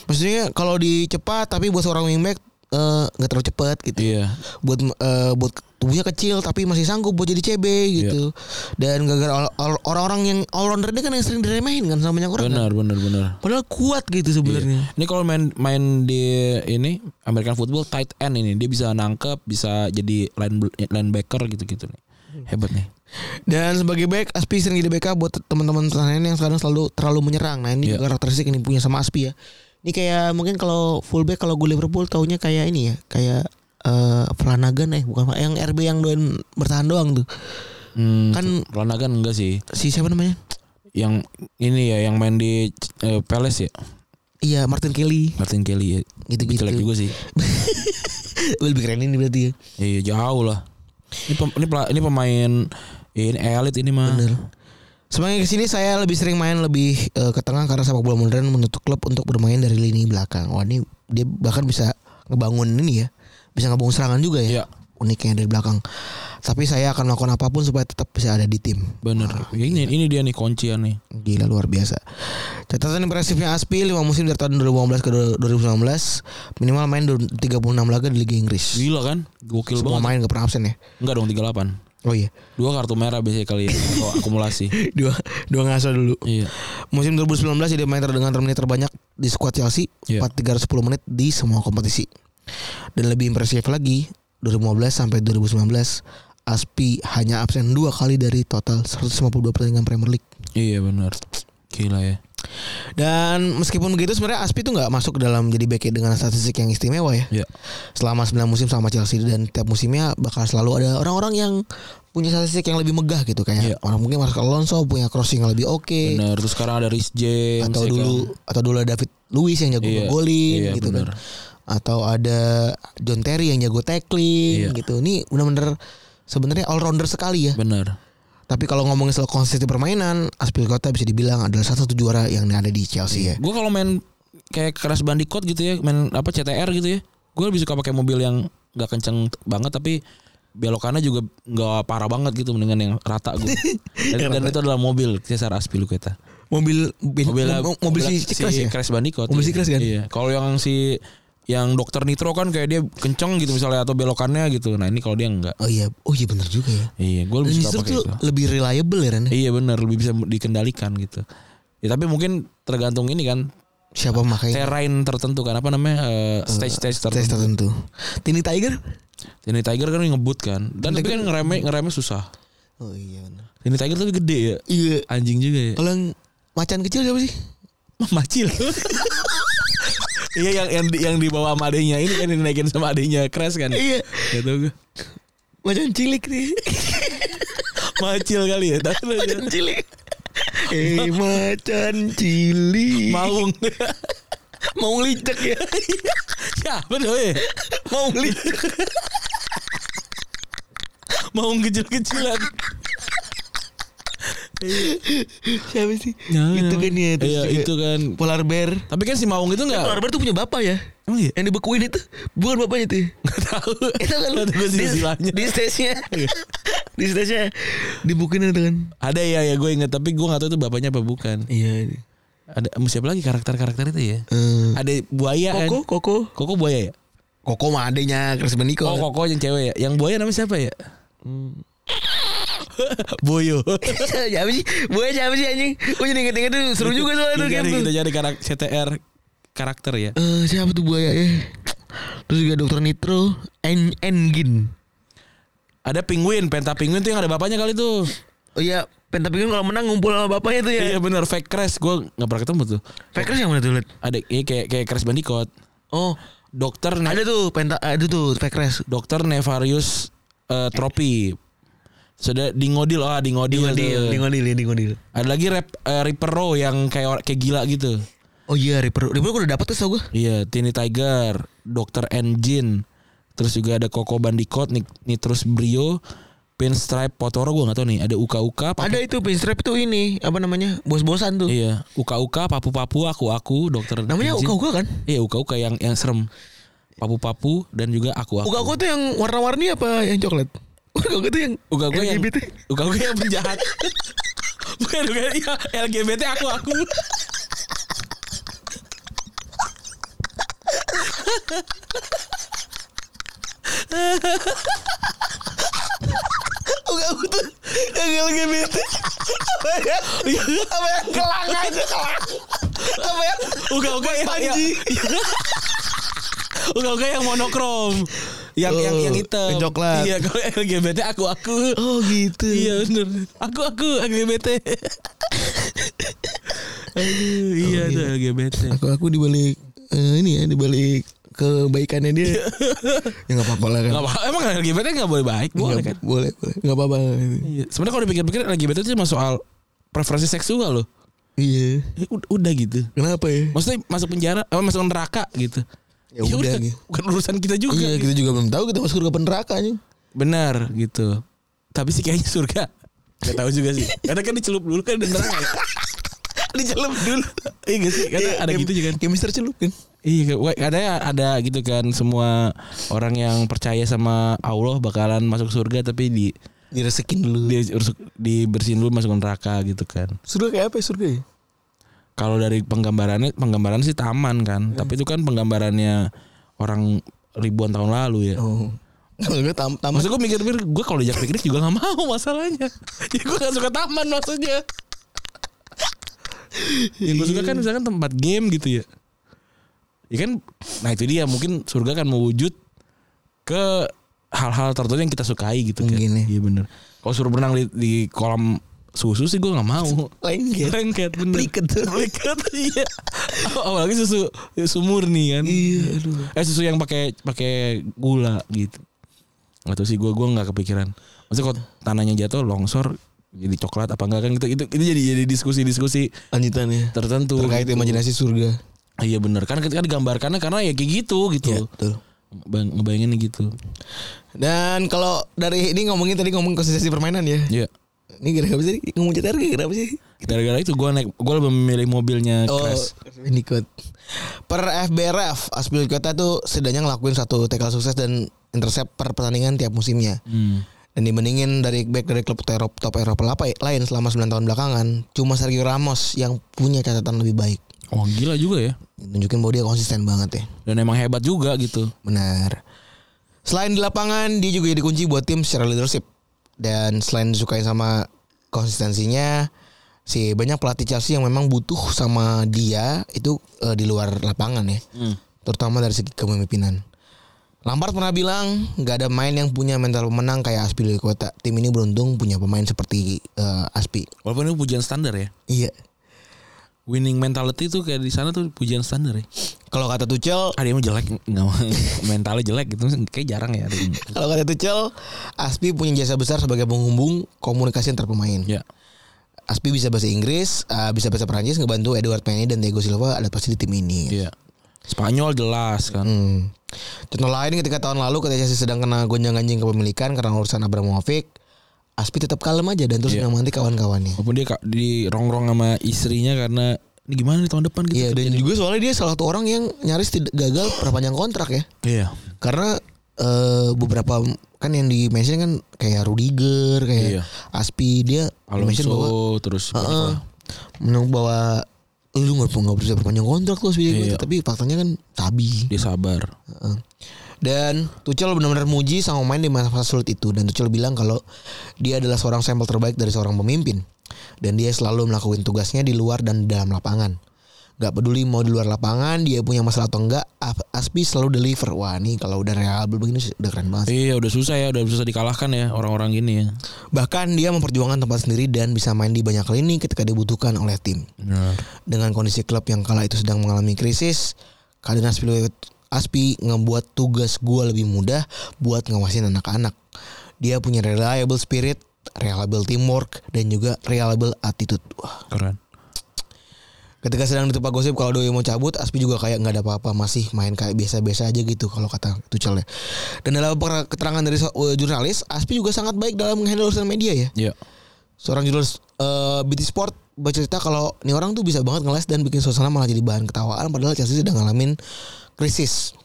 [SPEAKER 2] Maksudnya kalau di cepat tapi buat seorang wingback eh, nggak terlalu cepat gitu.
[SPEAKER 3] Iya.
[SPEAKER 2] buat eh, buat tubuhnya kecil tapi masih sanggup buat jadi CB gitu.
[SPEAKER 3] Iya.
[SPEAKER 2] Dan gara-gara all- all- orang-orang yang all rounder ini kan yang sering diremehin kan sama banyak orang. kan?
[SPEAKER 3] Benar benar benar.
[SPEAKER 2] Padahal kuat gitu sebenarnya.
[SPEAKER 3] Ini kalau main main di ini American football tight end ini dia bisa nangkep bisa jadi line linebacker gitu gitu nih. Hebat nih.
[SPEAKER 2] Dan sebagai back Aspi sering jadi BK buat teman-teman pertahanan yang sekarang selalu terlalu menyerang. Nah, ini
[SPEAKER 3] Iya.
[SPEAKER 2] juga karakteristik yang dipunya sama Aspi ya. Ini kayak mungkin kalau fullback kalau gue Liverpool taunya kayak ini ya, kayak eh Flanagan eh bukan yang RB yang doain bertahan doang tuh.
[SPEAKER 3] Hmm, kan
[SPEAKER 2] Kan-
[SPEAKER 3] Flanagan enggak sih
[SPEAKER 2] Si siapa namanya?
[SPEAKER 3] yang ini ya yang main di eh, Palace ya
[SPEAKER 2] Iya, Martin Kelly
[SPEAKER 3] Martin Kelly ya.
[SPEAKER 2] gitu-gitu.
[SPEAKER 3] Jelek juga sih.
[SPEAKER 2] Lebih keren ini berarti ya.
[SPEAKER 3] Iya jauh lah. Ini pem- ini, pela- ini pemain iya, ini elit ini mah.
[SPEAKER 2] Bener. Semakin kesini saya lebih sering main lebih eh, ke tengah karena sepak bola modern menutup klub untuk bermain dari lini belakang. Wah ini dia bahkan bisa ngebangun ini ya, bisa ngebangun serangan juga ya.
[SPEAKER 3] Iya.
[SPEAKER 2] Uniknya dari belakang. Tapi saya akan melakukan apapun supaya tetap bisa ada di tim.
[SPEAKER 3] Bener.
[SPEAKER 2] Ah.
[SPEAKER 3] Ya ini ini dia nih kuncian nih.
[SPEAKER 2] Gila luar biasa. Catatan impresifnya Aspi 5 musim dari tahun 2015 ke 2019 minimal main 36 laga di Liga Inggris.
[SPEAKER 3] Gila kan? Gokil
[SPEAKER 2] Semua
[SPEAKER 3] banget.
[SPEAKER 2] main gak pernah absen ya.
[SPEAKER 3] Enggak dong 38.
[SPEAKER 2] Oh iya.
[SPEAKER 3] Dua kartu merah biasanya kali ya kalau akumulasi.
[SPEAKER 2] Dua dua ngaso dulu.
[SPEAKER 3] Iya.
[SPEAKER 2] Musim 2019 jadi main ter- dengan menit terbanyak di skuad Chelsea,
[SPEAKER 3] Iya.
[SPEAKER 2] 4 310 menit di semua kompetisi. Dan lebih impresif lagi, 2015 sampai 2019 Aspi hanya absen dua kali dari total 152 pertandingan Premier League.
[SPEAKER 3] Iya bener. Gila ya.
[SPEAKER 2] Dan meskipun begitu sebenarnya Aspi tuh nggak masuk ke dalam jadi bek dengan statistik yang istimewa ya.
[SPEAKER 3] Iya.
[SPEAKER 2] Selama 9 musim sama Chelsea dan tiap musimnya bakal selalu ada orang-orang yang punya statistik yang lebih megah gitu kayak
[SPEAKER 3] Iya.
[SPEAKER 2] orang mungkin Marcelo Alonso punya crossing yang lebih oke
[SPEAKER 3] Bener. Terus sekarang ada Rhys James.
[SPEAKER 2] Iya. atau
[SPEAKER 3] ya kan?
[SPEAKER 2] dulu atau dulu ada David Luiz yang jago
[SPEAKER 3] Iya,
[SPEAKER 2] ngegolin
[SPEAKER 3] iya,
[SPEAKER 2] gitu
[SPEAKER 3] benar.
[SPEAKER 2] kan atau ada John Terry yang jago tackling
[SPEAKER 3] Iya.
[SPEAKER 2] gitu ini benar-benar sebenarnya all rounder sekali ya
[SPEAKER 3] Bener.
[SPEAKER 2] tapi kalau ngomongin soal konsistensi permainan Aspilicueta bisa dibilang adalah salah satu juara yang ada di Chelsea ya
[SPEAKER 3] Gue kalau main kayak keras bandikot gitu ya, main apa CTR gitu ya. Gue lebih suka pakai mobil yang nggak kenceng banget tapi belokannya juga nggak parah banget gitu mendingan yang rata gue. Dan, dan itu adalah mobil Cesar Aspilicueta.
[SPEAKER 2] mobil
[SPEAKER 3] Mobil
[SPEAKER 2] Iya, mo- mobil si Cikres ya
[SPEAKER 3] Crash Bandicoot.
[SPEAKER 2] Mobil
[SPEAKER 3] iya.
[SPEAKER 2] si Crash kan?
[SPEAKER 3] Iya. Kalau yang si yang dokter Nitro kan kayak dia kenceng gitu misalnya atau belokannya gitu. Nah, ini kalau dia enggak.
[SPEAKER 2] oh iya oh iya benar juga ya
[SPEAKER 3] Iya, gue
[SPEAKER 2] dan
[SPEAKER 3] lebih
[SPEAKER 2] justru
[SPEAKER 3] suka pakai
[SPEAKER 2] tuh
[SPEAKER 3] itu.
[SPEAKER 2] lebih reliable ya Ren
[SPEAKER 3] Iya benar, lebih bisa dikendalikan gitu. Ya tapi mungkin tergantung ini kan
[SPEAKER 2] siapa makanya
[SPEAKER 3] terrain tertentu kan apa namanya eh,
[SPEAKER 2] Iya.
[SPEAKER 3] stage stage
[SPEAKER 2] tes tertentu
[SPEAKER 3] tertentu.
[SPEAKER 2] Tini Tiger
[SPEAKER 3] Ini Tiger kan ngebut kan. Dan tapi kan ngereme ngereme susah.
[SPEAKER 2] oh iya benar
[SPEAKER 3] Ini Tiger tapi gede ya.
[SPEAKER 2] iya
[SPEAKER 3] Anjing juga ya.
[SPEAKER 2] kalau yang macan kecil siapa sih
[SPEAKER 3] Macil. Iya yang yang di- yang dibawa sama adenya ini kan dinaikin sama adenya crash kan.
[SPEAKER 2] Iya.
[SPEAKER 3] Gak tau gue.
[SPEAKER 2] macan cilik nih
[SPEAKER 3] Macil kali ya. Tapi lu jangan-
[SPEAKER 2] cilik. Eh macan cili
[SPEAKER 3] Maung.
[SPEAKER 2] mau licek ya
[SPEAKER 3] ya betul ya.
[SPEAKER 2] mau licek
[SPEAKER 3] Maung kecil-kecilan.
[SPEAKER 2] siapa sih
[SPEAKER 3] Jangan,
[SPEAKER 2] itu kan
[SPEAKER 3] jangan.
[SPEAKER 2] ya terus
[SPEAKER 3] Iya,
[SPEAKER 2] juga
[SPEAKER 3] itu kan.
[SPEAKER 2] polar bear
[SPEAKER 3] Tapi kan si Maung itu
[SPEAKER 2] polar
[SPEAKER 3] enggak
[SPEAKER 2] bear tuh punya bapak ya
[SPEAKER 3] Emang iya?
[SPEAKER 2] yang dibekuin itu bukan bapaknya itu
[SPEAKER 3] Enggak tahu.
[SPEAKER 2] itu kan lu
[SPEAKER 3] Nggak tahu gue
[SPEAKER 2] di,
[SPEAKER 3] silsilahnya.
[SPEAKER 2] di stage-nya di stage-nya dibukuin itu kan
[SPEAKER 3] Ada ya ya gue inget tapi gue gak tahu itu bapaknya apa bukan.
[SPEAKER 2] iya
[SPEAKER 3] Ada em, siapa lagi karakter-karakter itu ya?
[SPEAKER 2] Eh,
[SPEAKER 3] Ada buaya kan?
[SPEAKER 2] koko koko
[SPEAKER 3] Koko buaya ya?
[SPEAKER 2] koko mah adenya Chris Beniko
[SPEAKER 3] Oh Koko yang cewek ya? Yang buaya namanya siapa ya? Boyo.
[SPEAKER 2] siapa sih buaya siapa sih anjing gue jadi inget-inget tuh seru juga soalnya tuh game
[SPEAKER 3] Jadi
[SPEAKER 2] tuh
[SPEAKER 3] kita cari karakter CTR karakter ya.
[SPEAKER 2] Eh siapa tuh buaya ya? Terus juga dokter Nitro, En Engin.
[SPEAKER 3] Ada penguin, penta penguin tuh yang ada bapaknya kali tuh.
[SPEAKER 2] Oh iya, Pentapigun kalau menang ngumpul sama bapaknya tuh ya.
[SPEAKER 3] Iya benar fake crash gue nggak pernah ketemu tuh.
[SPEAKER 2] Fakers yang mana tuh? Lid?
[SPEAKER 3] Ada iya kayak kayak Crash Bandicoot.
[SPEAKER 2] Oh,
[SPEAKER 3] Dokter Ne-
[SPEAKER 2] ada tuh Penta ada tuh Fakers.
[SPEAKER 3] Dokter Nevarius eh, Tropi. Sudah Dingodil oh
[SPEAKER 2] Iya,
[SPEAKER 3] Dingodil. tuh.
[SPEAKER 2] Dingodil, ya, Dingodil.
[SPEAKER 3] Ada lagi rap, eh, Reaper Row yang kayak or- kayak gila gitu.
[SPEAKER 2] Oh iya, Reaper. Reaper gue udah dapet tuh tau gue.
[SPEAKER 3] Iya, Tini Tiger, Dokter Engine. Terus juga ada Koko Bandicoot, Nik- Nitrus Brio, Pinstripe Potoro gue nggak tahu nih. Ada Uka Uka,
[SPEAKER 2] Ada itu Pinstripe tuh ini, apa namanya? Bos-bosan tuh.
[SPEAKER 3] Iya, Uka Uka, Papu Papu, aku aku, Dokter.
[SPEAKER 2] Namanya
[SPEAKER 3] Engine.
[SPEAKER 2] Uka-Uka kan?
[SPEAKER 3] Iya, Uka Uka yang yang serem. Papu Papu dan juga aku aku.
[SPEAKER 2] Uka-Uka tuh yang warna-warni apa yang coklat? Uka-Uka tuh yang
[SPEAKER 3] Uga gue yang
[SPEAKER 2] LGBT.
[SPEAKER 3] Uga gue yang penjahat Bukan Uga ya, LGBT aku aku
[SPEAKER 2] Uka-Uka tuh yang LGBT. Apa ya? Apa ya? Kelang aja, kelang. Apa ya?
[SPEAKER 3] Uga Uga yang
[SPEAKER 2] Panji.
[SPEAKER 3] Uga Uga yang monokrom Yang yang yang hitam
[SPEAKER 2] Oh. yang coklat.
[SPEAKER 3] Iya kalau LGBT aku aku
[SPEAKER 2] Oh gitu.
[SPEAKER 3] Iya bener Aku aku LGBT Aduh,
[SPEAKER 2] Oh,
[SPEAKER 3] iya tuh LGBT
[SPEAKER 2] Aku aku dibalik eh, ini ya dibalik kebaikannya dia. ya nggak apa-apa lah kan.
[SPEAKER 3] Nggak apa, emang LGBT nggak boleh baik boleh kan?
[SPEAKER 2] Nggak- boleh boleh nggak apa-apa.
[SPEAKER 3] Iya. Sebenarnya kalau dipikir-pikir LGBT itu cuma soal preferensi seksual loh.
[SPEAKER 2] Iya.
[SPEAKER 3] Eh, ud- udah gitu.
[SPEAKER 2] Kenapa ya?
[SPEAKER 3] Maksudnya masuk penjara, eh, masuk neraka gitu.
[SPEAKER 2] Ya udah, gitu.
[SPEAKER 3] bukan urusan kita juga.
[SPEAKER 2] Iya
[SPEAKER 3] gitu.
[SPEAKER 2] kita juga belum tahu kita masuk surga peneraka nih.
[SPEAKER 3] Benar gitu. Tapi sih kayaknya surga. Gak tahu juga sih. Karena kan dicelup dulu kan ada neraka. ya.
[SPEAKER 2] Dicelup dulu.
[SPEAKER 3] Iya gak sih? Karena ada gitu juga kan.
[SPEAKER 2] Kayak Mister Celup kan.
[SPEAKER 3] Iya, kayak- katanya ada gitu kan semua orang yang percaya sama Allah bakalan masuk surga tapi di
[SPEAKER 2] diresekin dulu
[SPEAKER 3] di dibersihin dulu masuk neraka gitu kan.
[SPEAKER 2] surga kayak apa ya surga ya
[SPEAKER 3] Kalau dari penggambarannya penggambaran sih taman
[SPEAKER 2] Iya.
[SPEAKER 3] kan, tapi itu kan penggambarannya orang ribuan tahun lalu ya.
[SPEAKER 2] oh gue tam taman
[SPEAKER 3] Maksud gue mikir-mikir gue kalau diajak piknik juga gak mau masalahnya. ya gue gak suka taman maksudnya. Yang gue suka kan misalkan tempat game gitu ya. Ya kan, nah itu dia mungkin surga kan mewujud ke hal-hal tertentu yang kita sukai gitu kan.
[SPEAKER 2] Mungkin ya.
[SPEAKER 3] Iya bener. Kalau suruh berenang di, di kolam susu sih gue gak mau.
[SPEAKER 2] lengket
[SPEAKER 3] Lengket bener.
[SPEAKER 2] Pliket tuh.
[SPEAKER 3] Pliket, iya. Apalagi susu susu murni kan.
[SPEAKER 2] iya aduh
[SPEAKER 3] Eh susu yang pakai pakai gula gitu. Nggak tahu sih gua gua nggak kepikiran. Maksudnya kalau tanahnya jatuh longsor jadi coklat apa enggak kan gitu itu itu jadi jadi diskusi-diskusi
[SPEAKER 2] lanjutannya
[SPEAKER 3] tertentu.
[SPEAKER 2] ya. terkait
[SPEAKER 3] gitu.
[SPEAKER 2] imajinasi surga
[SPEAKER 3] Ah, Iya bener kan ketika digambarkannya karena ya kayak gitu gitu.
[SPEAKER 2] Iya, betul
[SPEAKER 3] Bang ngebayangin gitu.
[SPEAKER 2] dan kalau dari ini ngomongin tadi ngomong konsistensi permainan ya
[SPEAKER 3] Iya.
[SPEAKER 2] ini gara-gara apa sih ngomong CTRG kenapa sih
[SPEAKER 3] Gara-gara itu gua naik gua lebih memilih mobilnya
[SPEAKER 2] Oh,
[SPEAKER 3] Crash.
[SPEAKER 2] Unicode. Per FBRF, Aspil Kota tuh setidaknya ngelakuin satu tackle sukses dan intercept per pertandingan tiap musimnya.
[SPEAKER 3] Hmm.
[SPEAKER 2] Dan dibandingin dari back dari klub terop- top Eropa lapa- lain selama 9 tahun belakangan, cuma Sergio Ramos yang punya catatan lebih baik.
[SPEAKER 3] Oh gila juga ya.
[SPEAKER 2] Nunjukin bahwa dia konsisten banget ya.
[SPEAKER 3] Dan emang hebat juga gitu.
[SPEAKER 2] Benar. Selain di lapangan, dia juga jadi kunci buat tim secara leadership. Dan selain disukai sama konsistensinya, si banyak pelatih Chelsea yang memang butuh sama dia itu eh, di luar lapangan ya. Terutama dari segi kepemimpinan. Lampard pernah bilang nggak ada main yang punya mental pemenang kayak Aspi dari kota. Tim ini beruntung punya pemain seperti eh, Aspi.
[SPEAKER 3] Walaupun itu pujian standar ya.
[SPEAKER 2] Iya.
[SPEAKER 3] Winning mentality tuh kayak di sana tuh pujian standar ya.
[SPEAKER 2] Kalau kata Tuchel,
[SPEAKER 3] Ah dia emang jelek nggak mau mentalnya jelek gitu kayak jarang ya. ada yang-
[SPEAKER 2] kalau kata Tuchel, Aspi punya jasa besar sebagai penghubung komunikasi antar pemain.
[SPEAKER 3] ya.
[SPEAKER 2] Aspi bisa bahasa Inggris, eh, bisa bahasa Perancis ngebantu Edward Mendy dan Diego Silva adaptasi di tim ini.
[SPEAKER 3] Iya. Spanyol jelas kan.
[SPEAKER 2] Hmm. Contoh lain ketika tahun lalu ketika Chelsea sedang kena gonjang-ganjing kepemilikan karena urusan Abramovich, Aspi tetap kalem aja dan terus
[SPEAKER 3] Iya.
[SPEAKER 2] menyemangati kawan-kawannya.
[SPEAKER 3] Walaupun dia ka- di rongrong sama istrinya karena ini gimana nih tahun depan gitu.
[SPEAKER 2] Iya dan
[SPEAKER 3] Jadi-
[SPEAKER 2] juga soalnya dia salah satu orang yang nyaris tidak gagal perpanjang kontrak ya.
[SPEAKER 3] Iya.
[SPEAKER 2] Karena eh, beberapa kan yang di mention kan kayak Rudiger, kayak
[SPEAKER 3] Iya.
[SPEAKER 2] Aspi dia mention bahwa
[SPEAKER 3] Alonso terus
[SPEAKER 2] Heeh. menurut Gitu. bahwa lu nggak nggak bisa perpanjang kontrak lu Aspi
[SPEAKER 3] Iya.
[SPEAKER 2] tapi faktanya kan tabi.
[SPEAKER 3] dia sabar.
[SPEAKER 2] Heeh. Dan Tuchel benar-benar muji sang pemain di masa sulit itu dan Tuchel bilang kalau dia adalah seorang sampel terbaik dari seorang pemimpin dan dia selalu melakukan tugasnya di luar dan dalam lapangan. Gak peduli mau di luar lapangan dia punya masalah atau enggak, Af- Aspi selalu deliver. Wah nih kalau udah reliable begini sih udah keren banget. sih.
[SPEAKER 3] Iya udah susah ya udah susah dikalahkan ya orang-orang gini ya.
[SPEAKER 2] Bahkan dia memperjuangkan tempat sendiri dan bisa main di banyak lini ketika dibutuhkan oleh tim.
[SPEAKER 3] Benar.
[SPEAKER 2] Dengan kondisi klub yang kala itu sedang mengalami krisis, Kaden Aspi, Aspi ngebuat tugas gua lebih mudah buat ngawasin anak-anak. Dia punya reliable spirit, reliable teamwork, dan juga reliable attitude. Wah.
[SPEAKER 3] Keren.
[SPEAKER 2] Ketika sedang ditepa gosip kalau Doi mau cabut, Aspi juga kayak nggak ada apa-apa, masih main kayak biasa-biasa aja gitu kalau kata Tuchel ya. Dan dalam per- keterangan dari so- eh, jurnalis, Aspi juga sangat baik dalam menghandle urusan media ya
[SPEAKER 3] Iya.
[SPEAKER 2] seorang jurnalis eh, BT Sport bercerita kalau ini orang tuh bisa banget ngeles dan bikin suasana malah jadi bahan ketawaan padahal Chelsea sedang ngalamin krisis.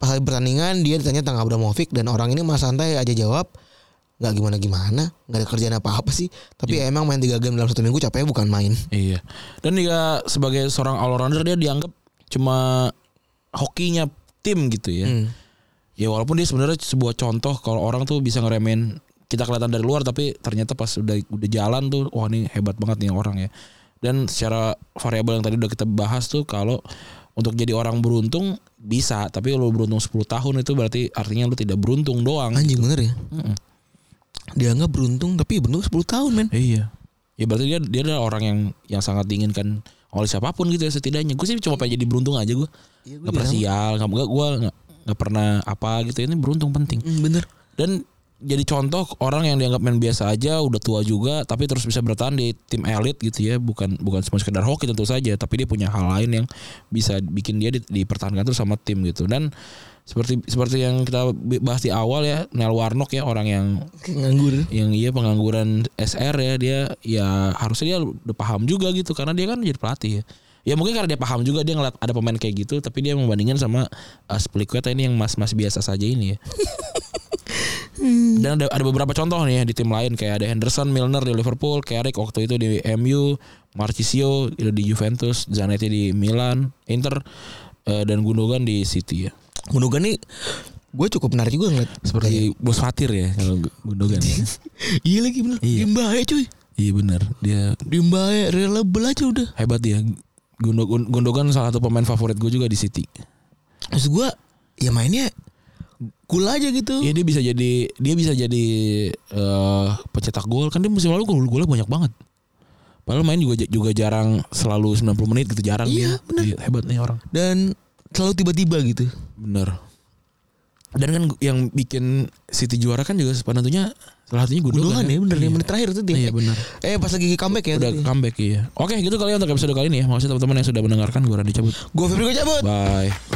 [SPEAKER 2] Pas hari pertandingan dia ditanya tentang Abramovich dan orang ini mah santai aja jawab nggak gimana gimana nggak ada kerjaan apa apa sih tapi ya emang main tiga game dalam satu minggu capeknya bukan main
[SPEAKER 3] Iya. Dan dia sebagai seorang all rounder dia dianggap cuma hokinya tim gitu ya.
[SPEAKER 2] Hmm.
[SPEAKER 3] Ya walaupun dia sebenarnya sebuah contoh kalau orang tuh bisa ngeremehin kita kelihatan dari luar tapi ternyata pas udah udah jalan tuh wah ini hebat banget nih orang ya. Dan secara variabel yang tadi udah kita bahas tuh kalau untuk jadi orang beruntung bisa, tapi lu beruntung 10 tahun itu berarti artinya lu tidak beruntung doang.
[SPEAKER 2] anjing bener ya dianggap beruntung tapi beruntung 10 tahun men
[SPEAKER 3] Iya. Ya berarti dia dia adalah orang yang yang sangat diinginkan oleh siapapun gitu ya setidaknya. Gue sih cuma pengen jadi beruntung aja gue.
[SPEAKER 2] Iya, gua
[SPEAKER 3] gak pernah sial, gak, gak gue gak, gak pernah apa gitu. Ini beruntung penting.
[SPEAKER 2] Hmm, bener
[SPEAKER 3] Dan jadi contoh orang yang dianggap main biasa aja, udah tua juga, tapi terus bisa bertahan di tim elit gitu ya. Bukan bukan cuma sekedar hoki tentu saja, tapi dia punya hal lain yang bisa bikin dia di- dipertahankan terus sama tim gitu. Dan seperti seperti yang kita bahas di awal ya, Nel Warnock ya orang yang
[SPEAKER 2] nganggur
[SPEAKER 3] yang iya pengangguran SR ya dia ya harusnya dia udah paham juga gitu karena dia kan jadi pelatih ya. ya mungkin karena dia paham juga dia ngeliat ada pemain kayak gitu tapi dia membandingkan sama uh, Spilicueta ini yang mas-mas biasa saja ini ya dan ada, ada beberapa contoh nih ya di tim lain kayak ada Henderson, Milner di Liverpool, Carrick waktu itu di MU, Marchisio itu di Juventus, Zanetti di Milan, Inter eh, dan Gundogan di City ya.
[SPEAKER 2] Gundogan nih gue cukup menarik juga ngeliat
[SPEAKER 3] Seperti Bos Fatir ya kalau Gu- Gundogan. ya.
[SPEAKER 2] iya lagi bener
[SPEAKER 3] Iya.
[SPEAKER 2] diem bae cuy
[SPEAKER 3] Iya benar, dia
[SPEAKER 2] diem bae ya, reliable aja udah
[SPEAKER 3] hebat dia. Gundo- Gun- Gundogan salah satu pemain favorit gue juga di City.
[SPEAKER 2] maksud gue ya mainnya cool aja gitu
[SPEAKER 3] Iya dia bisa jadi dia bisa jadi eh pencetak gol kan dia musim lalu gol golnya banyak banget. Padahal main juga juga jarang selalu 90 menit gitu jarang
[SPEAKER 2] Iya,
[SPEAKER 3] dia.
[SPEAKER 2] benar.
[SPEAKER 3] Iya, hebat nih orang.
[SPEAKER 2] dan selalu tiba-tiba gitu
[SPEAKER 3] Bener. Dan kan yang bikin City juara kan juga penentunya salah satunya Gundogan.
[SPEAKER 2] Gundogan ya bener
[SPEAKER 3] Iya.
[SPEAKER 2] ya menit terakhir tuh dia
[SPEAKER 3] Iya, bener.
[SPEAKER 2] eh pas lagi comeback ya
[SPEAKER 3] Udah comeback iya. Oke, gitu kali ya untuk episode kali ini ya. Makasih teman-teman yang sudah mendengarkan. Gue Randy cabut.
[SPEAKER 2] gue Febri gue cabut
[SPEAKER 3] Bye.